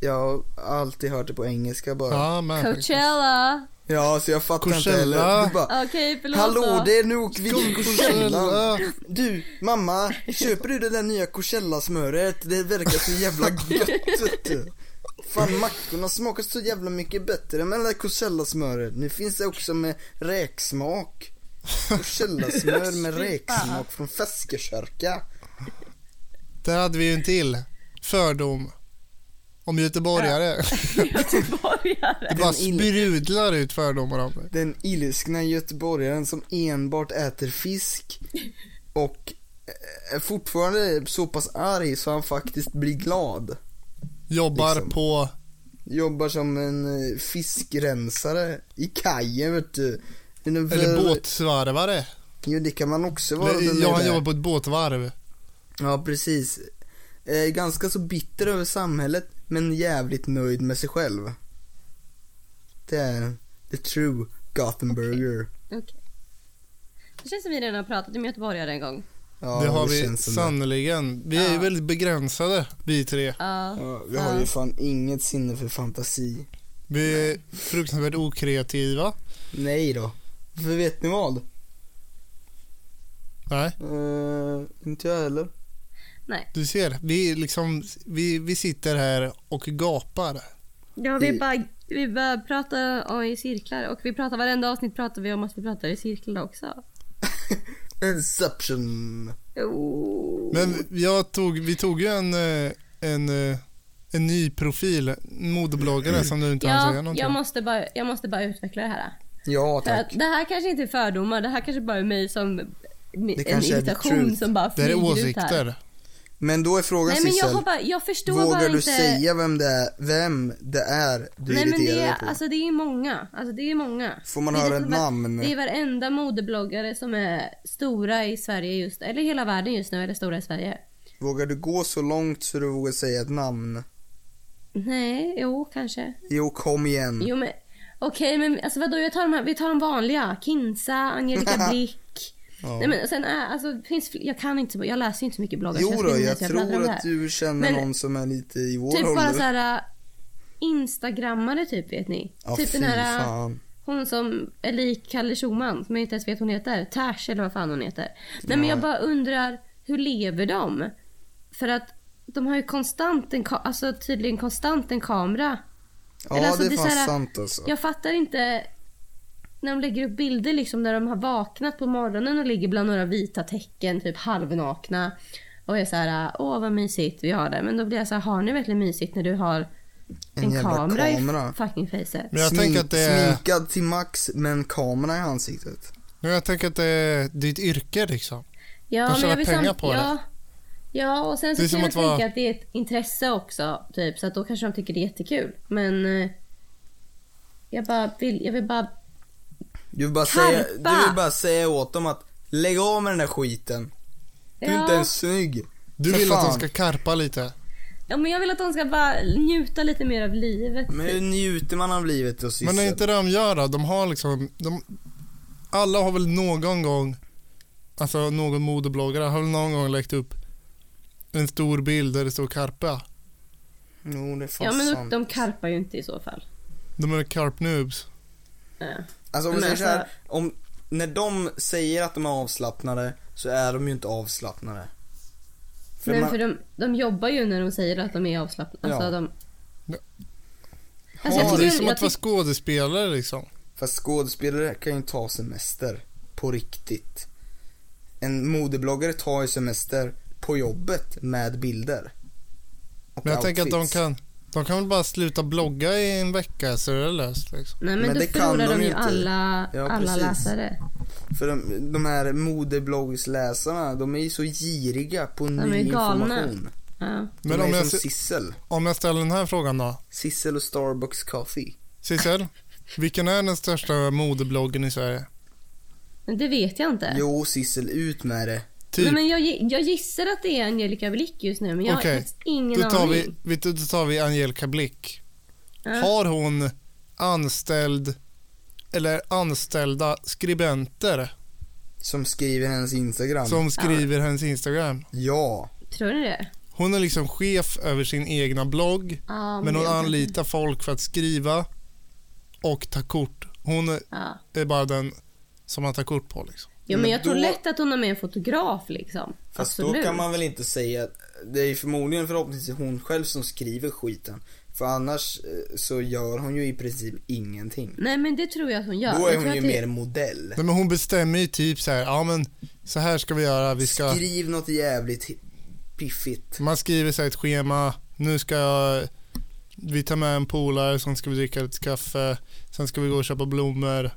Speaker 2: jag har alltid hört det på engelska bara. Ja,
Speaker 1: Ja, men.
Speaker 3: Coachella!
Speaker 2: ja så jag fattar
Speaker 1: Coachella.
Speaker 2: inte heller. Du bara,
Speaker 3: Okej, förlåt
Speaker 2: Hallå
Speaker 3: då.
Speaker 2: det är nog vi i Coachella.
Speaker 1: Coachella.
Speaker 2: Du mamma, köper du det där nya Coachella-smöret? Det verkar så jävla gött vet du. Fan mackorna smakar så jävla mycket bättre med det där Coachella-smöret. Nu finns det också med räksmak. Coachella-smör med räksmak från Feskekörka.
Speaker 1: Där hade vi ju en till fördom. Om göteborgare.
Speaker 3: Göteborgare.
Speaker 1: Det bara
Speaker 2: Den in-
Speaker 1: sprudlar ut fördomar om dig.
Speaker 2: Den ilskna göteborgaren som enbart äter fisk och är fortfarande så pass arg så han faktiskt blir glad.
Speaker 1: Jobbar
Speaker 2: Liksom.
Speaker 1: på...
Speaker 2: Jobbar som en eh, fiskrensare i kajen vet du. Men en-
Speaker 1: Eller båtsvarvare.
Speaker 2: Jo det kan man också vara. den
Speaker 1: Eller, ja,
Speaker 2: där.
Speaker 1: han jobbar på ett båtvarv.
Speaker 2: ja precis. Eh, ganska så bitter över samhället men jävligt nöjd med sig själv. Det är the true Gothenburger.
Speaker 3: Okej. Det känns som vi redan har pratat om göteborgare en gång.
Speaker 2: Ja,
Speaker 1: det har vi
Speaker 2: känns som det.
Speaker 1: sannoliken. Vi är ju väldigt begränsade, vi tre.
Speaker 3: Ja.
Speaker 2: Ja, vi har ju fan inget sinne för fantasi.
Speaker 1: Vi är fruktansvärt okreativa.
Speaker 2: Nej då. För vet ni vad?
Speaker 1: Nej,
Speaker 2: Eh, inte jag heller.
Speaker 3: Nej.
Speaker 1: du ser. Vi, är liksom, vi, vi sitter här och gapar.
Speaker 3: Ja,
Speaker 2: I-
Speaker 3: vi bara, vi bara pratar om i cirklar och vi pratar varenda avsnitt pratar vi om att vi pratar i cirklar också.
Speaker 2: Inception.
Speaker 3: Oh.
Speaker 1: Men jag tog, vi tog ju en, eh, en, eh, en ny profil, en modebloggare som du inte hann säga
Speaker 3: Ja,
Speaker 1: någonting
Speaker 3: jag
Speaker 1: om.
Speaker 3: måste, bara, jag måste bara utveckla det här.
Speaker 2: Ja
Speaker 3: För att
Speaker 2: tack.
Speaker 3: det här kanske inte är fördomar, det här kanske bara är mig som en
Speaker 2: kanske är the
Speaker 3: irritation
Speaker 2: truth.
Speaker 3: som bara
Speaker 1: Det här är
Speaker 3: flyger ut här.
Speaker 1: åsikter.
Speaker 2: Men då är frågan
Speaker 3: Nej men jag,
Speaker 2: Sissel.
Speaker 3: har bara, jag förstår bara
Speaker 2: Vågar
Speaker 3: inte.
Speaker 2: du säga vem det är, vem det är du
Speaker 3: Nej men det
Speaker 2: irriterar dig
Speaker 3: är,
Speaker 2: på?
Speaker 3: alltså det är många. Alltså det är många.
Speaker 2: Får man
Speaker 3: Det är
Speaker 2: höra
Speaker 3: typ
Speaker 2: ett
Speaker 3: var-
Speaker 2: namn?
Speaker 3: Det är varenda modebloggare som är stora i Sverige just eller hela världen just nu, eller stora i Sverige.
Speaker 2: Vågar du gå så långt så du vågar säga ett namn?
Speaker 3: Nej, jo kanske.
Speaker 2: Jo, kom igen.
Speaker 3: Jo men okej men alltså vadå jag tar de här, vi tar de vanliga. Kinsa, Angelica Blick. Nej men sen är, alltså det finns, fl- jag kan inte, så- jag läser inte så mycket bloggar. så
Speaker 2: Jo
Speaker 3: skulle
Speaker 2: då,
Speaker 3: inte
Speaker 2: jag
Speaker 3: ens kunna
Speaker 2: tror
Speaker 3: bläddra
Speaker 2: att
Speaker 3: där.
Speaker 2: du känner
Speaker 3: Men-
Speaker 2: någon som är lite i vår
Speaker 3: Typ bara
Speaker 2: ålder.
Speaker 3: så här äh, instagrammare typ vet ni.
Speaker 2: Ja,
Speaker 3: typ
Speaker 2: fy
Speaker 3: den här äh,
Speaker 2: fan.
Speaker 3: hon som är lik Kalle Schumann som jag inte ens vet hon heter. Tash eller vad fan hon heter. Nej men jag bara undrar hur lever de? För att de har ju konstant en, ka- alltså tydligen konstant en kamera.
Speaker 2: Ja,
Speaker 3: eller alltså,
Speaker 2: det är
Speaker 3: det är
Speaker 2: fan
Speaker 3: så här-
Speaker 2: sant alltså.
Speaker 3: Jag fattar inte när de lägger upp bilder liksom när de har vaknat på morgonen och ligger bland några vita tecken, typ halvnakna. Och är så här, åh vad mysigt vi har det. Men då blir jag så här, har ni verkligen mysigt när du har
Speaker 2: En
Speaker 3: en,
Speaker 2: jävla
Speaker 3: kamera,
Speaker 2: kamera.
Speaker 3: i fucking facet?
Speaker 1: Men jag
Speaker 2: Smink-
Speaker 1: tänker att det är,
Speaker 2: Sminkad till max, men kamera i ansiktet.
Speaker 1: men jag tänker att det är ditt yrke liksom.
Speaker 3: Ja,
Speaker 1: De tjänar
Speaker 3: vill
Speaker 1: pengar
Speaker 3: samt-
Speaker 1: på det.
Speaker 3: ja, Ja, och sen
Speaker 1: Det är
Speaker 3: så
Speaker 1: som
Speaker 3: kan jag
Speaker 1: att vara-
Speaker 3: tänka att det är ett intresse också. Typ, så att då kanske de tycker det är jättekul. Men eh, jag, bara vill, jag vill bara...
Speaker 2: Du vill, bara
Speaker 3: Karpa!
Speaker 2: säga, du vill bara säga åt dem att lägg av med den där skiten. Du är inte ens snygg.
Speaker 1: Du
Speaker 2: För
Speaker 1: vill att
Speaker 2: fan.
Speaker 1: de ska karpa lite.
Speaker 3: ja, men jag vill att de ska bara njuta lite mer av livet.
Speaker 2: Men hur
Speaker 3: typ.
Speaker 2: njuter man av livet och
Speaker 1: Men
Speaker 2: Sissel?
Speaker 1: är inte det de gör då? De har liksom... De, alla har väl någon gång, alltså någon modebloggare har väl någon gång lagt upp en stor bild där det står karpa.
Speaker 2: Jo, det är fan
Speaker 3: Ja, men
Speaker 2: sant.
Speaker 3: de, de karpar ju inte i så fall.
Speaker 1: De är karp noobs.
Speaker 3: Eh,
Speaker 2: Alltså om vi
Speaker 3: Men
Speaker 2: säger så här,
Speaker 3: alltså-
Speaker 2: om, när de säger att de är avslappnade så är de ju inte avslappnade. För
Speaker 3: Nej,
Speaker 2: man,
Speaker 3: för de, de jobbar ju när de säger att de är avslappnade.
Speaker 2: Ja.
Speaker 3: Alltså, de...
Speaker 1: Ja.
Speaker 3: Alltså,
Speaker 2: Ja,
Speaker 3: jag
Speaker 1: Ja,
Speaker 3: tycker,
Speaker 1: det är som
Speaker 3: jag
Speaker 1: att vara
Speaker 3: tyck-
Speaker 1: skådespelare liksom.
Speaker 2: Fast skådespelare kan ju ta semester. På riktigt. En modebloggare tar ju semester på jobbet med bilder. Och
Speaker 1: Men jag tänker att de
Speaker 2: outfits.
Speaker 1: kan, de kan väl bara sluta blogga i en vecka så är det löst liksom.
Speaker 3: Nej, men,
Speaker 2: Men
Speaker 3: då
Speaker 2: det kan
Speaker 3: förlorar
Speaker 2: de
Speaker 3: de
Speaker 2: ju
Speaker 3: ju
Speaker 2: inte.
Speaker 3: alla,
Speaker 2: Ja,
Speaker 3: alla
Speaker 2: precis.
Speaker 3: läsare.
Speaker 2: För de, de här modebloggsläsarna, de är ju så giriga på
Speaker 3: är
Speaker 2: ny
Speaker 3: galna.
Speaker 2: information.
Speaker 3: Ja.
Speaker 2: De
Speaker 1: Men
Speaker 2: är
Speaker 1: om jag,
Speaker 2: som
Speaker 1: s-
Speaker 2: Sissel.
Speaker 1: om jag ställer den här frågan då.
Speaker 2: Sissel och Starbucks Coffee.
Speaker 1: Sissel, vilken är den största modebloggen i Sverige?
Speaker 3: Men det vet jag inte.
Speaker 2: Jo, Sissel, ut med det.
Speaker 1: Typ.
Speaker 3: Nej, men jag, gi- jag gissar att det är Angelica Blick just nu, men jag
Speaker 1: Okej.
Speaker 3: har faktiskt ingen
Speaker 1: Då tar
Speaker 3: aning.
Speaker 1: vi, vet du, då tar vi Angelica Blick.
Speaker 3: Ja.
Speaker 1: Har hon anställd eller anställda skribenter
Speaker 2: Som skriver hennes Instagram.
Speaker 1: som skriver hennes Instagram?
Speaker 2: Ja.
Speaker 3: Tror ni det?
Speaker 1: Hon är liksom chef över sin egna blogg,
Speaker 3: Ja,
Speaker 1: men hon
Speaker 3: jag-
Speaker 1: anlitar folk för att skriva och ta kort. Hon är-
Speaker 3: Ja.
Speaker 1: är bara den som man tar kort på liksom.
Speaker 3: Jo, men,
Speaker 2: Men
Speaker 3: jag tror
Speaker 2: Mm, då-
Speaker 3: lätt att hon har med en fotograf liksom.
Speaker 2: Fast
Speaker 3: Absolut.
Speaker 2: då kan man väl inte säga att det är förmodligen förhoppningsvis hon själv som skriver skiten. För annars eh, så gör hon ju i princip ingenting.
Speaker 3: Nej, men det tror jag att hon gör.
Speaker 2: Då
Speaker 3: jag
Speaker 2: är
Speaker 3: tror
Speaker 2: hon ju
Speaker 3: att det...
Speaker 2: mer modell.
Speaker 1: Nej, men hon bestämmer ju typ så här, ja men så här ska vi göra, vi ska...
Speaker 2: Skriv något jävligt hi- piffigt.
Speaker 1: Man skriver sig ett schema. Nu ska jag, vi ta med en polare, sen ska vi dricka lite kaffe, sen ska vi gå och köpa blommor.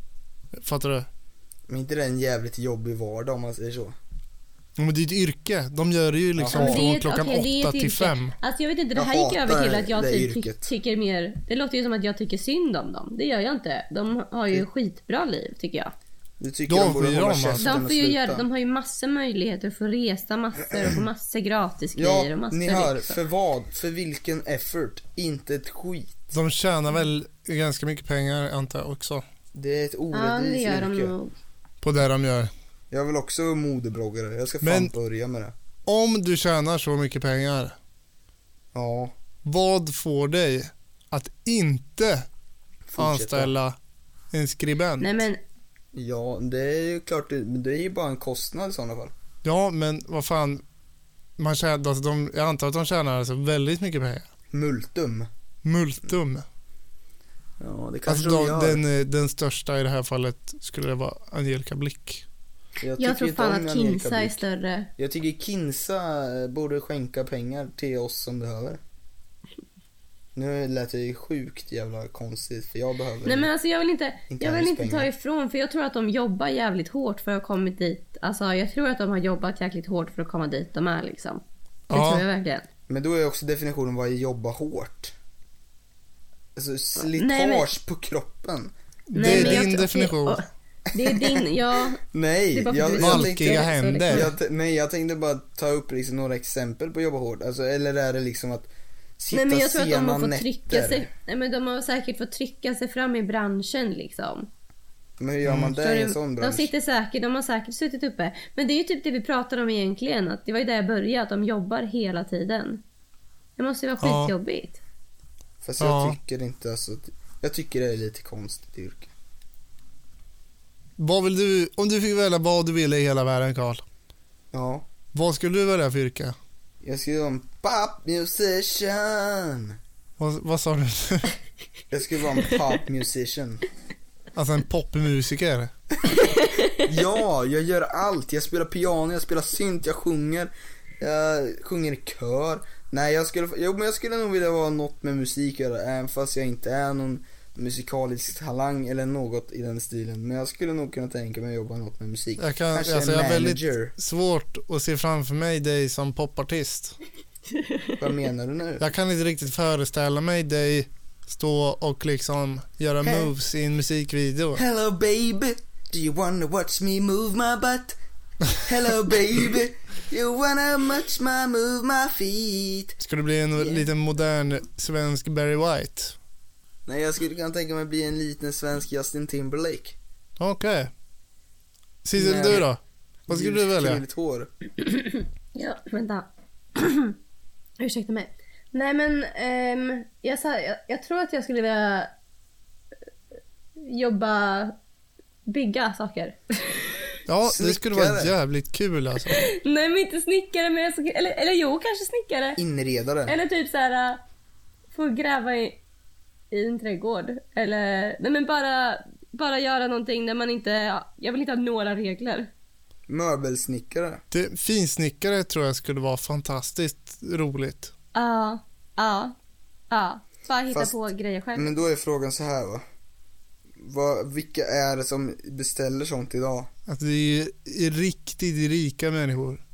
Speaker 1: Fattar du?
Speaker 2: Men inte det en jävligt jobbig vardag om man säger så.
Speaker 1: Ja, Men det är ett yrke. De gör det ju liksom
Speaker 2: Ja,
Speaker 3: Men det Alltså, är
Speaker 1: från
Speaker 3: ett-
Speaker 1: klockan
Speaker 3: okej, det är
Speaker 1: åtta
Speaker 3: ett
Speaker 1: till
Speaker 3: yrke.
Speaker 1: fem.
Speaker 3: Alltså, jag vet inte, det
Speaker 2: Jag
Speaker 3: här gick över till
Speaker 2: hatar
Speaker 3: att jag
Speaker 2: det
Speaker 3: typ ty-
Speaker 2: yrket.
Speaker 3: tycker mer... Det låter ju som att jag tycker synd om dem. Det gör jag inte. De har ju skitbra liv, tycker jag.
Speaker 2: Du
Speaker 1: Då
Speaker 2: tycker de borde
Speaker 1: får ju
Speaker 2: hålla
Speaker 1: de, alltså.
Speaker 2: käften
Speaker 3: De,
Speaker 2: och
Speaker 3: får ju
Speaker 2: sluta.
Speaker 3: göra, de har ju massor möjligheter att få resa massor och få massor gratis grejer
Speaker 2: Ja,
Speaker 3: och massor
Speaker 2: ni hör.
Speaker 3: liksom.
Speaker 2: För vad? För vilken effort? Inte ett skit.
Speaker 1: De tjänar väl ganska mycket pengar antar jag också.
Speaker 2: Det är ett
Speaker 3: Ja, det
Speaker 2: orättvist
Speaker 3: gör de
Speaker 2: yrke.
Speaker 3: nog.
Speaker 1: På det de gör.
Speaker 2: Jag vill också vara modebloggare. Jag ska fan
Speaker 1: Men-
Speaker 2: börja med det.
Speaker 1: Om du tjänar så mycket pengar,
Speaker 2: Ja,
Speaker 1: vad får dig att inte
Speaker 2: fortsätta.
Speaker 1: anställa en skribent?
Speaker 3: Nej, men
Speaker 2: Ja, det är ju klart, det, men det är ju bara en kostnad i sådana fall.
Speaker 1: Ja, men vad fan. Man tjänar, alltså de, jag antar att de tjänar alltså väldigt mycket pengar.
Speaker 2: Multum.
Speaker 1: Multum.
Speaker 2: Ja, det kanske
Speaker 1: Alltså de,
Speaker 2: de gör.
Speaker 1: den, eh, den största i det här fallet skulle det vara Angelica Blick.
Speaker 2: tycker
Speaker 3: Jag tror
Speaker 2: inte om
Speaker 3: fan att
Speaker 2: Angelica
Speaker 3: Kinsa är
Speaker 2: Blick.
Speaker 3: större.
Speaker 2: Jag tycker Kinsa eh, borde skänka pengar till oss som behöver. Nu lät det ju sjukt jävla konstigt för jag behöver
Speaker 3: Nej men alltså jag vill inte,
Speaker 2: Inte
Speaker 3: jag vill
Speaker 2: hennes
Speaker 3: inte ta
Speaker 2: pengar.
Speaker 3: ifrån för jag tror att de jobbar jävligt hårt för att ha kommit dit. Alltså jag tror att de har jobbat jäkligt hårt för att komma dit de är liksom. Det
Speaker 1: Ja.
Speaker 3: tror jag verkligen.
Speaker 2: Men då är också definitionen vad är jobba hårt. Alltså slitage
Speaker 3: Nej, men-
Speaker 2: på kroppen.
Speaker 1: det är
Speaker 3: men jag-
Speaker 1: din
Speaker 3: okej,
Speaker 1: definition.
Speaker 3: och- Det är din, ja.
Speaker 2: Nej,
Speaker 3: Det är bara för
Speaker 2: jag,
Speaker 3: att du-
Speaker 2: jag,
Speaker 1: Valkiga
Speaker 2: tänkte,
Speaker 3: så
Speaker 1: händer.
Speaker 3: liksom.
Speaker 2: jag, t- nej, jag tänkte bara ta upp liksom några exempel på jobba hårt. Alltså, eller är det liksom att sitta
Speaker 3: Nej men jag tror att de
Speaker 2: sena
Speaker 3: har fått
Speaker 2: nätter?
Speaker 3: trycka sig, nej men de har säkert fått trycka sig fram i branschen liksom.
Speaker 2: Men hur gör man det
Speaker 3: Förstår
Speaker 2: i en
Speaker 3: du?
Speaker 2: sån
Speaker 3: Mm. de
Speaker 2: bransch?
Speaker 3: sitter säkert, de har säkert suttit uppe. Men det är ju typ det vi pratar om egentligen. Att det var ju där jag började, att de jobbar hela tiden. Det måste ju vara
Speaker 1: Ja.
Speaker 3: skitjobbigt.
Speaker 2: Fast jag
Speaker 1: Ja.
Speaker 2: tycker inte alltså, att- jag tycker det är lite konstigt yrke.
Speaker 1: Vad vill du, om du fick välja vad du ville i hela världen Karl,
Speaker 2: Ja,
Speaker 1: vad skulle du välja för yrke?
Speaker 2: jag skulle vara en pop musician.
Speaker 1: Vad, vad sa du?
Speaker 2: Jag skulle vara en pop musician.
Speaker 1: alltså en popmusiker?
Speaker 2: Ja, jag gör allt. Jag spelar piano, jag spelar synt, jag sjunger. Jag sjunger i kör. Nej, jag skulle, jo, men jag skulle nog vilja vara något med musik att göra, även fast jag inte är någon musikalisk talang eller något i den stilen. Men jag skulle nog kunna tänka mig att jobba något med musik.
Speaker 1: Jag kan,
Speaker 2: Kanske
Speaker 1: alltså,
Speaker 2: en
Speaker 1: jag har
Speaker 2: manager.
Speaker 1: väldigt svårt att se framför mig dig som popartist.
Speaker 2: Vad menar du nu?
Speaker 1: Jag kan inte riktigt föreställa mig dig stå och liksom göra
Speaker 2: Hej.
Speaker 1: moves i en musikvideo.
Speaker 2: Hello baby, do you wanna watch me move my butt? Hello baby, you wanna watch my move my feet?
Speaker 1: Ska du bli en liten modern svensk Barry White?
Speaker 2: Nej, jag skulle kunna tänka mig bli en liten svensk Justin Timberlake.
Speaker 1: Okej. Sissel,
Speaker 2: Nej.
Speaker 1: du då? Vad skulle du
Speaker 2: Ljust
Speaker 1: välja?
Speaker 2: krulligt hår.
Speaker 3: Ja, vänta. Ursäkta mig. Nej men, ehm, jag, sa, jag, jag tror att jag skulle vilja eh, jobba, bygga saker.
Speaker 1: Ja, det skulle vara
Speaker 2: Snickare.
Speaker 1: jävligt kul alltså.
Speaker 3: Nej men inte snickare men jag skulle, eller, eller jo kanske snickare.
Speaker 2: Inredare.
Speaker 3: Eller typ så här äh, få gräva i, i en trädgård. Eller, nej men bara, bara göra någonting där man inte, jag vill inte ha några regler.
Speaker 2: Möbelsnickare.
Speaker 1: Det, finsnickare tror jag skulle vara fantastiskt roligt.
Speaker 3: Ja, ja, ja. Bara hitta
Speaker 2: Fast-
Speaker 3: på grejer själv.
Speaker 2: Men då är frågan så här va. Vad- vilka är det som beställer sånt idag?
Speaker 1: Att Alltså, det är ju riktigt rika människor.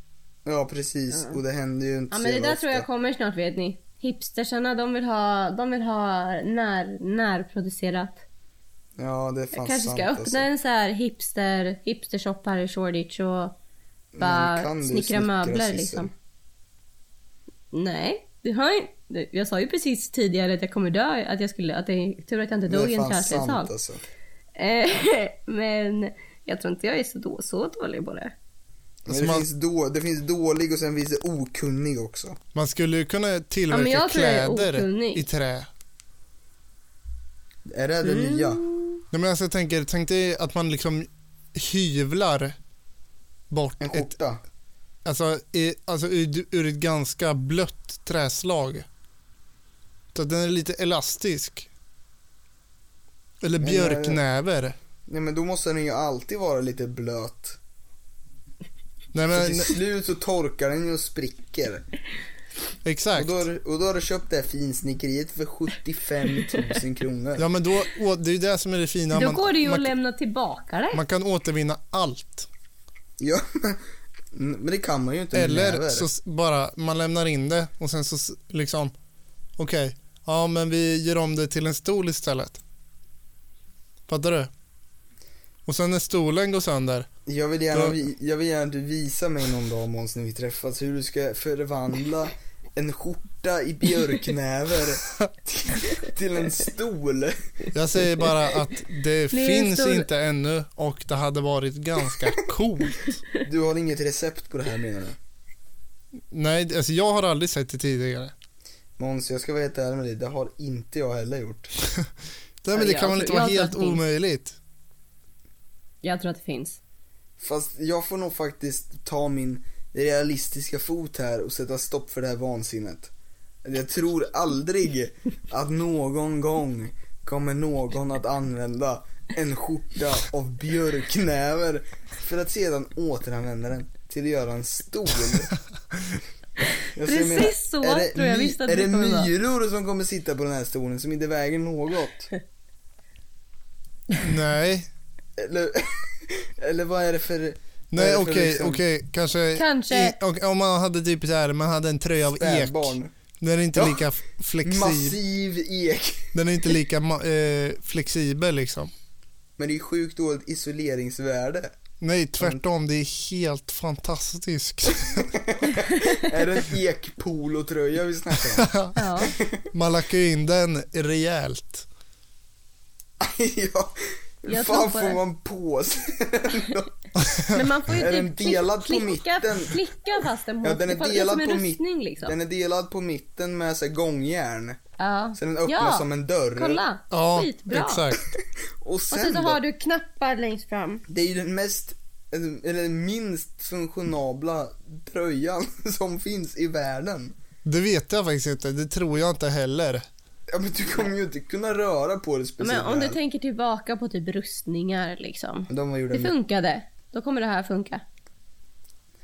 Speaker 2: Ja precis, och det händer ju inte
Speaker 3: Ja
Speaker 2: så
Speaker 3: men det
Speaker 2: jävla
Speaker 3: där tror jag
Speaker 2: ofta.
Speaker 3: kommer snart vet ni. Hipstersarna de vill ha, de vill ha när, närproducerat.
Speaker 2: Ja det är fan
Speaker 3: Jag kanske
Speaker 2: sant
Speaker 3: ska öppna
Speaker 2: alltså.
Speaker 3: en så här hipster, hipstershop här i Shoreditch och
Speaker 2: Men kan
Speaker 3: bara
Speaker 2: du
Speaker 3: snickra
Speaker 2: snickra,
Speaker 3: möbler
Speaker 2: Sissel?
Speaker 3: liksom. Nej, du har ju, du- jag sa ju precis tidigare att jag kommer dö, att jag skulle, att det är tur att jag inte
Speaker 2: Det
Speaker 3: dog i
Speaker 2: är
Speaker 3: en
Speaker 2: fan sant
Speaker 3: träslöjdssal.
Speaker 2: alltså.
Speaker 3: Eh, Men jag tror inte jag är så, då, så dålig på det.
Speaker 2: Men
Speaker 1: Som
Speaker 2: det,
Speaker 1: man-
Speaker 2: finns då, det finns dålig och sen finns det okunnig också.
Speaker 1: Man skulle ju kunna tillverka
Speaker 3: jag tror jag är
Speaker 1: kläder
Speaker 3: okunnig.
Speaker 1: i trä.
Speaker 2: Är det det
Speaker 3: Mm.
Speaker 2: nya?
Speaker 1: Nej, men alltså, jag tänker, tänk dig att man liksom hyvlar bort
Speaker 2: En
Speaker 1: ett,
Speaker 2: skjorta?
Speaker 1: alltså, i, alltså ur, ur ett ganska blött träslag. Så att den är lite elastisk. Eller
Speaker 2: Men, eh,
Speaker 1: björknäver.
Speaker 2: Nej men då måste den ju alltid vara lite blöt.
Speaker 1: Nej
Speaker 2: För
Speaker 1: men
Speaker 2: till slut så torkar den ju och spricker. Och
Speaker 1: exakt.
Speaker 2: då, har, du- och då har du köpt det här finsnickeriet för 75 000 kronor.
Speaker 1: Ja men då, å- det är ju det som är det fina.
Speaker 3: då
Speaker 1: Man,
Speaker 3: går det ju att
Speaker 1: man,
Speaker 3: lämna tillbaka det.
Speaker 1: man kan återvinna allt.
Speaker 2: Ja, men, men det kan man ju inte med
Speaker 1: Eller
Speaker 2: näver.
Speaker 1: så s- bara, man lämnar in det och sen så s- liksom, okej, ja men vi gör om det till en stol istället. Fattar du? Och sen när stolen går sönder,
Speaker 2: Jag vill gärna,
Speaker 1: Då-
Speaker 2: vi- jag vill gärna att du visar mig någon dag Måns när vi träffas hur du ska förvandla en skjorta i björknäver till- till en stol.
Speaker 1: jag säger bara att det
Speaker 3: Det är en
Speaker 1: finns
Speaker 3: stol-
Speaker 1: inte ännu och det hade varit ganska coolt.
Speaker 2: Du har inget recept på det här menar du?
Speaker 1: Nej, alltså jag har aldrig sett det tidigare.
Speaker 2: Måns, jag ska vara helt ärlig med dig, det har inte jag heller gjort.
Speaker 1: Nej men
Speaker 3: Ja,
Speaker 1: det
Speaker 3: jag
Speaker 1: kan väl
Speaker 3: tror-
Speaker 1: inte
Speaker 3: jag
Speaker 1: vara
Speaker 3: har inte
Speaker 1: helt
Speaker 3: sett min-
Speaker 1: omöjligt?
Speaker 3: Jag tror att det finns.
Speaker 2: Fast jag får nog faktiskt ta min realistiska fot här och sätta stopp för det här vansinnet. Jag tror aldrig att någon gång kommer någon att använda en skjorta av björknäver för att sedan återanvända den till att göra en stol. Alltså, Jag
Speaker 3: Precis så
Speaker 2: är det
Speaker 3: tror jag
Speaker 2: my-
Speaker 3: visst att
Speaker 2: Är
Speaker 3: det
Speaker 2: det
Speaker 3: kommer vara.
Speaker 2: myror som kommer sitta på den här stolen som inte väger något?
Speaker 1: Nej.
Speaker 2: Eller, eller vad är det för... vad är
Speaker 1: Nej
Speaker 2: det för
Speaker 1: okej,
Speaker 2: liksom
Speaker 1: okej, kanske.
Speaker 3: Kanske.
Speaker 1: I, och, om man hade typ så här, man hade en tröja av ek.
Speaker 2: spädbarn?
Speaker 1: Den är inte
Speaker 2: Ja.
Speaker 1: lika f- flexibel.
Speaker 2: Massiv ek.
Speaker 1: Den är inte lika ma- eh, flexibel liksom.
Speaker 2: Men det är sjukt dåligt isoleringsvärde.
Speaker 1: Nej, tvärtom. Det är helt fantastiskt.
Speaker 2: är det en ekpolotröja vi snackar om?
Speaker 3: Ja.
Speaker 1: Man lackar ju in den rejält.
Speaker 2: ja. Hur
Speaker 3: Jag
Speaker 2: fan
Speaker 3: tror på
Speaker 2: får
Speaker 3: det.
Speaker 2: man på sig den?
Speaker 3: Men man får ju
Speaker 2: Är
Speaker 3: typ
Speaker 2: den delad
Speaker 3: klick-
Speaker 2: på
Speaker 3: klicka,
Speaker 2: mitten?
Speaker 3: klicka fast den mot...
Speaker 2: Ja, den är
Speaker 3: det
Speaker 2: delad
Speaker 3: som en
Speaker 2: på
Speaker 3: rustning
Speaker 2: mitten.
Speaker 3: liksom.
Speaker 2: Den är delad på mitten med så här gångjärn.
Speaker 3: Ja.
Speaker 2: Så den öppnas
Speaker 3: ja.
Speaker 2: som en dörr.
Speaker 3: Kolla!
Speaker 1: Ja,
Speaker 3: Skitbra!
Speaker 1: exakt.
Speaker 2: Och
Speaker 3: Och
Speaker 2: sen,
Speaker 3: sen så
Speaker 2: då,
Speaker 3: har du knappar längst fram.
Speaker 2: Det är ju den mest, eller den minst funktionabla tröjan som finns i världen.
Speaker 1: Det vet jag faktiskt inte. Det tror jag inte heller.
Speaker 2: Ja men du kommer ju inte kunna röra på det speciellt
Speaker 3: Men om du
Speaker 2: väl.
Speaker 3: tänker tillbaka på typ rustningar liksom.
Speaker 2: De var gjorda
Speaker 3: Det funkade. Då kommer det här funka.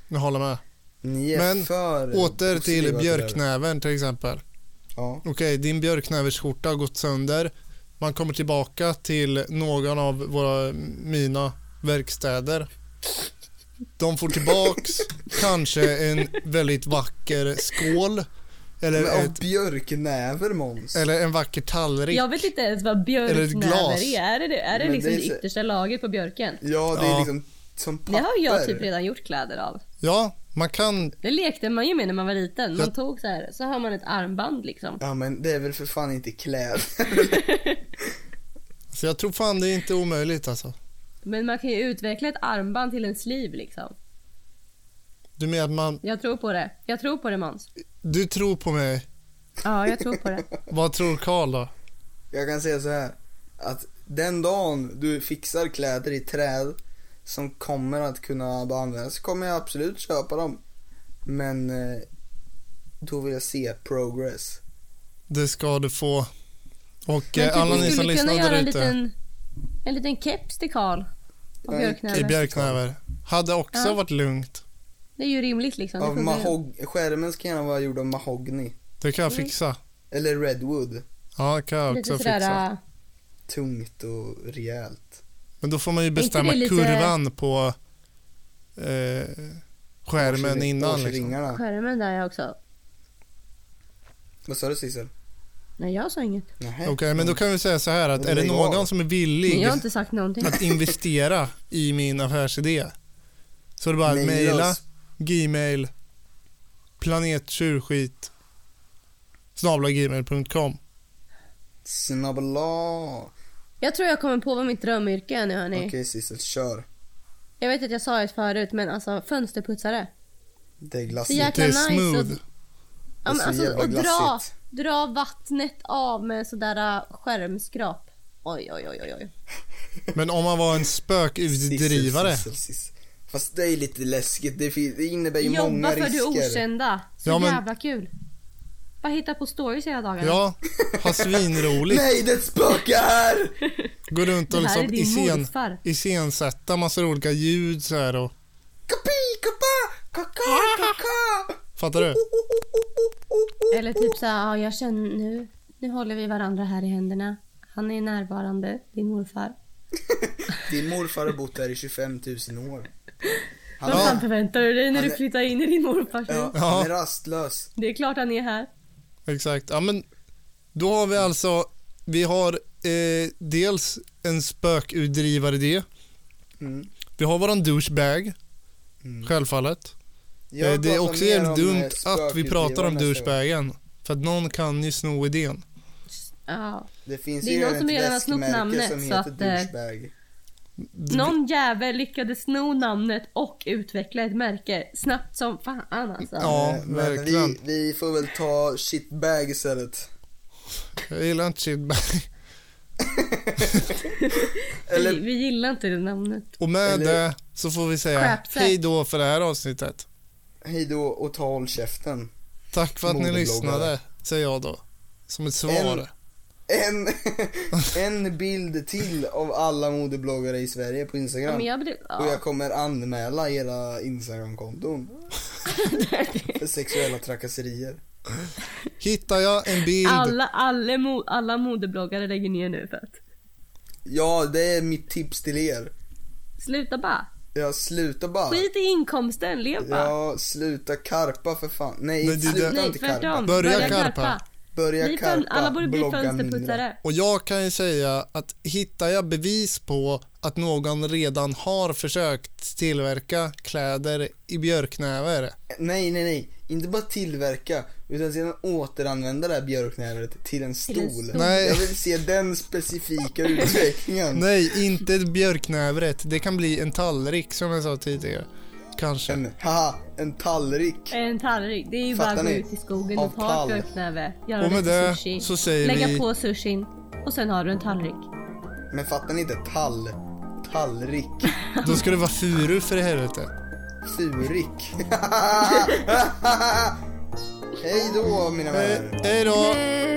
Speaker 1: Jag håller med.
Speaker 2: Ni är
Speaker 1: Men
Speaker 2: för
Speaker 1: Åter till
Speaker 2: positiva det där.
Speaker 1: björknäven till exempel.
Speaker 2: Ja.
Speaker 1: Okej, din björknäversskjorta har gått sönder. man kommer tillbaka till någon av våra, mina verkstäder. De får tillbaks kanske en väldigt vacker skål eller,
Speaker 2: Men av
Speaker 1: ett,
Speaker 2: björknäver Måns.
Speaker 1: eller en vacker tallrik.
Speaker 3: Jag vet inte ens vad
Speaker 1: Eller ett glas.
Speaker 3: björknäver är. Är det det, är det
Speaker 2: Men
Speaker 3: liksom
Speaker 2: det
Speaker 3: det,
Speaker 2: är så-
Speaker 3: yttersta laget på björken?
Speaker 2: Ja, det är
Speaker 1: Ja.
Speaker 2: liksom som papper.
Speaker 3: Det har ju jag typ redan gjort kläder av.
Speaker 1: Ja, man kan...
Speaker 3: Det lekte man ju med när man var liten. Man
Speaker 1: Jag-
Speaker 3: tog så här, så har man ett armband liksom.
Speaker 2: Ja men det är väl för fan inte kläder.
Speaker 1: Så jag tror fan det är inte omöjligt alltså.
Speaker 3: Men man kan ju utveckla ett armband till en sleeve liksom.
Speaker 1: Du menar att man...
Speaker 3: Jag tror på det. Jag tror på det Måns.
Speaker 1: Du tror på mig.
Speaker 3: Ja, jag tror på det.
Speaker 1: Vad tror Karl då?
Speaker 2: Jag kan säga så här att den dagen du fixar kläder i träd som kommer att kunna bara användas kommer jag absolut köpa dem. Men eh, då vill jag se progress.
Speaker 1: Det ska du få. Och
Speaker 3: Men
Speaker 1: eh, alla
Speaker 3: vi
Speaker 1: ni som
Speaker 3: skulle kunna
Speaker 1: lyssnar
Speaker 3: göra
Speaker 1: där
Speaker 3: en
Speaker 1: ute
Speaker 3: liten, en liten keps till Karl. Av
Speaker 2: Ja,
Speaker 1: i
Speaker 3: björknäver.
Speaker 1: Bjärknäver hade också
Speaker 3: Ja.
Speaker 1: varit lugnt.
Speaker 3: Det är ju rimligt liksom. Det
Speaker 2: Av
Speaker 3: funkar ju.
Speaker 2: mahog- skärmen ska gärna vara gjord av mahogny.
Speaker 1: Det kan jag fixa.
Speaker 2: Eller redwood.
Speaker 1: Ja, det kan jag
Speaker 3: Mm. Lite
Speaker 1: också
Speaker 3: sådär,
Speaker 1: fixa.
Speaker 3: äh,
Speaker 2: Tungt och rejält.
Speaker 1: Men då får man ju
Speaker 3: inte
Speaker 1: bestämma
Speaker 3: det lite-
Speaker 1: kurvan på eh, skärmen
Speaker 2: Årsring-
Speaker 1: innan. Liksom.
Speaker 2: årsringarna.
Speaker 3: äh, skärmen där jag också.
Speaker 2: Vad sa du Sissel?
Speaker 3: Nej, jag sa inget.
Speaker 2: Nähä.
Speaker 1: Okej, men då kan vi säga så här att
Speaker 2: Men
Speaker 1: är det
Speaker 2: lägg av.
Speaker 1: någon som är villig
Speaker 3: Jag har inte sagt någonting.
Speaker 1: att investera i min affärsidé så är det bara att
Speaker 2: Maila
Speaker 1: mejla
Speaker 2: oss.
Speaker 1: gmail planettjurskit snabla gmail.com.
Speaker 2: Snabbla.
Speaker 3: Jag tror jag kommer på vad mitt drömyrke är nu hörni.
Speaker 2: Okej Sissel, kör.
Speaker 3: Jag vet att jag sa det förut men alltså fönsterputsare.
Speaker 2: Alltså, Det är
Speaker 3: Så
Speaker 2: glassigt.
Speaker 1: Det
Speaker 3: jäkla
Speaker 1: är
Speaker 3: nice
Speaker 1: smooth.
Speaker 3: att- Ja,
Speaker 2: är
Speaker 3: men
Speaker 2: så
Speaker 3: alltså,
Speaker 2: jävla
Speaker 3: och dra,
Speaker 2: glassigt.
Speaker 3: dra vattnet av med sådär äh, skärmskrap. Oj, oj, oj, oj, oj.
Speaker 1: Men om man var en spökutdrivare.
Speaker 2: Sissel, sissel, sissel. Fast det är lite läskigt. Det fin- det innebär ju många
Speaker 3: Jobba för det
Speaker 2: risker.
Speaker 3: okända. Så
Speaker 1: Ja, men-
Speaker 3: jävla kul. Bara hitta på stories hela dagarna.
Speaker 1: Ja, ha svinroligt.
Speaker 2: Nej, det är ett spöke här!
Speaker 1: Gå runt och
Speaker 3: Det här är
Speaker 1: liksom
Speaker 3: din
Speaker 1: iscen,
Speaker 3: morfar.
Speaker 1: iscensätta massa olika ljud så här och...
Speaker 2: Kapi, kapa, kaka, kaka. Oh,
Speaker 1: Fattar du?
Speaker 3: Eller typ så här, ja, jag känner nu, nu håller vi varandra här i händerna. Han är närvarande, din morfar. typ-
Speaker 2: Din morfar har bott här i 25 000 år. Han,
Speaker 3: Vad fan förväntar du dig när
Speaker 2: Han
Speaker 3: du
Speaker 2: är-
Speaker 3: flyttar in i din morfars hus?
Speaker 2: ja, han är rastlös.
Speaker 3: Det är klart han är här.
Speaker 1: Exakt. Ja, men då har vi alltså... Vi har eh, dels en spökutdrivaridé.
Speaker 2: Mm.
Speaker 1: Vi har våran douchebag. Självfallet.
Speaker 2: Jag
Speaker 1: Eh, det är
Speaker 2: pratar
Speaker 1: också
Speaker 2: mer
Speaker 1: jävligt
Speaker 2: om, eh,
Speaker 1: dumt att vi
Speaker 2: spökutdrivare
Speaker 1: pratar om
Speaker 2: nästa gång.
Speaker 1: douchebagen. För att någon kan ju sno idén.
Speaker 3: Ja.
Speaker 2: Det finns
Speaker 3: Det är
Speaker 2: ju
Speaker 3: någon som
Speaker 2: ett
Speaker 3: redan har snott
Speaker 2: väskmärke
Speaker 3: namnet,
Speaker 2: som
Speaker 3: så
Speaker 2: heter
Speaker 3: att, eh,
Speaker 2: douchebag.
Speaker 3: Någon jävel lyckades sno namnet och utveckla ett märke snabbt som fan alltså.
Speaker 1: Ja,
Speaker 2: Eh, Men
Speaker 1: verkligen.
Speaker 2: vi, vi får väl ta shitbag istället.
Speaker 1: Jag gillar inte shitbag.
Speaker 2: eller-
Speaker 3: Vi, vi gillar inte det namnet.
Speaker 1: Och med
Speaker 2: Eller-
Speaker 1: det så får vi säga
Speaker 3: Crapsack.
Speaker 1: hej då för det här avsnittet.
Speaker 2: Hej då och ta håll käften.
Speaker 1: Tack för att ni
Speaker 2: Modebloggare.
Speaker 1: lyssnade, säger jag då. Som ett svar.
Speaker 2: En- En, en bild till av alla modebloggare i Sverige på
Speaker 3: Ja,
Speaker 2: Instagram.
Speaker 3: men jag blev,
Speaker 2: Och
Speaker 3: ja.
Speaker 2: jag kommer anmäla era Instagram-konton. För sexuella trakasserier.
Speaker 1: Hittar jag en bild,
Speaker 3: alla, alla, mo, alla modebloggare lägger ner nu för att
Speaker 2: Ja, det är mitt tips till er.
Speaker 3: sluta bara.
Speaker 2: Ja, sluta bara.
Speaker 3: Skit i inkomsten, lev bara.
Speaker 2: Ja, sluta karpa för fan. Nej,
Speaker 1: Men det-
Speaker 2: sluta
Speaker 3: Nej
Speaker 2: inte
Speaker 3: tvärtom,
Speaker 2: karpa.
Speaker 1: Börja
Speaker 3: börja
Speaker 1: karpa.
Speaker 3: karpa.
Speaker 2: Börja
Speaker 3: Bli fön-
Speaker 2: karpa.
Speaker 3: alla borde bli
Speaker 2: blogga mindre.
Speaker 3: fönsterputsare.
Speaker 1: och jag kan ju säga att hittar jag bevis på att någon redan har försökt tillverka kläder i björknäver.
Speaker 2: Nej, nej, nej. Inte bara tillverka, utan sedan återanvända det här björknäret till en
Speaker 3: en
Speaker 2: stol.
Speaker 3: stol.
Speaker 1: Nej.
Speaker 2: Jag vill se den specifika utvecklingen.
Speaker 1: Nej, inte ett björknävret. Det kan bli en tallrik som jag sa tidigare. Kanske.
Speaker 2: En, haha, en tallrik.
Speaker 3: En tallrik. Det är ju
Speaker 2: Fattar
Speaker 3: bara att gå
Speaker 2: ni?
Speaker 3: ut i skogen
Speaker 2: Av
Speaker 3: och ta
Speaker 2: tall.
Speaker 3: ett björknäve. Göra
Speaker 1: Och med
Speaker 3: lite
Speaker 1: det
Speaker 3: sushi.
Speaker 1: så säger
Speaker 3: Lägga
Speaker 1: vi-
Speaker 3: på sushin. Och sen har du en tallrik.
Speaker 2: Men fattar ni inte? Tall. Tallrik.
Speaker 1: Då ska det vara furu för i helvete.
Speaker 2: Furik. Hej då mina vänner.
Speaker 1: Eh, Hej då!
Speaker 3: Hej.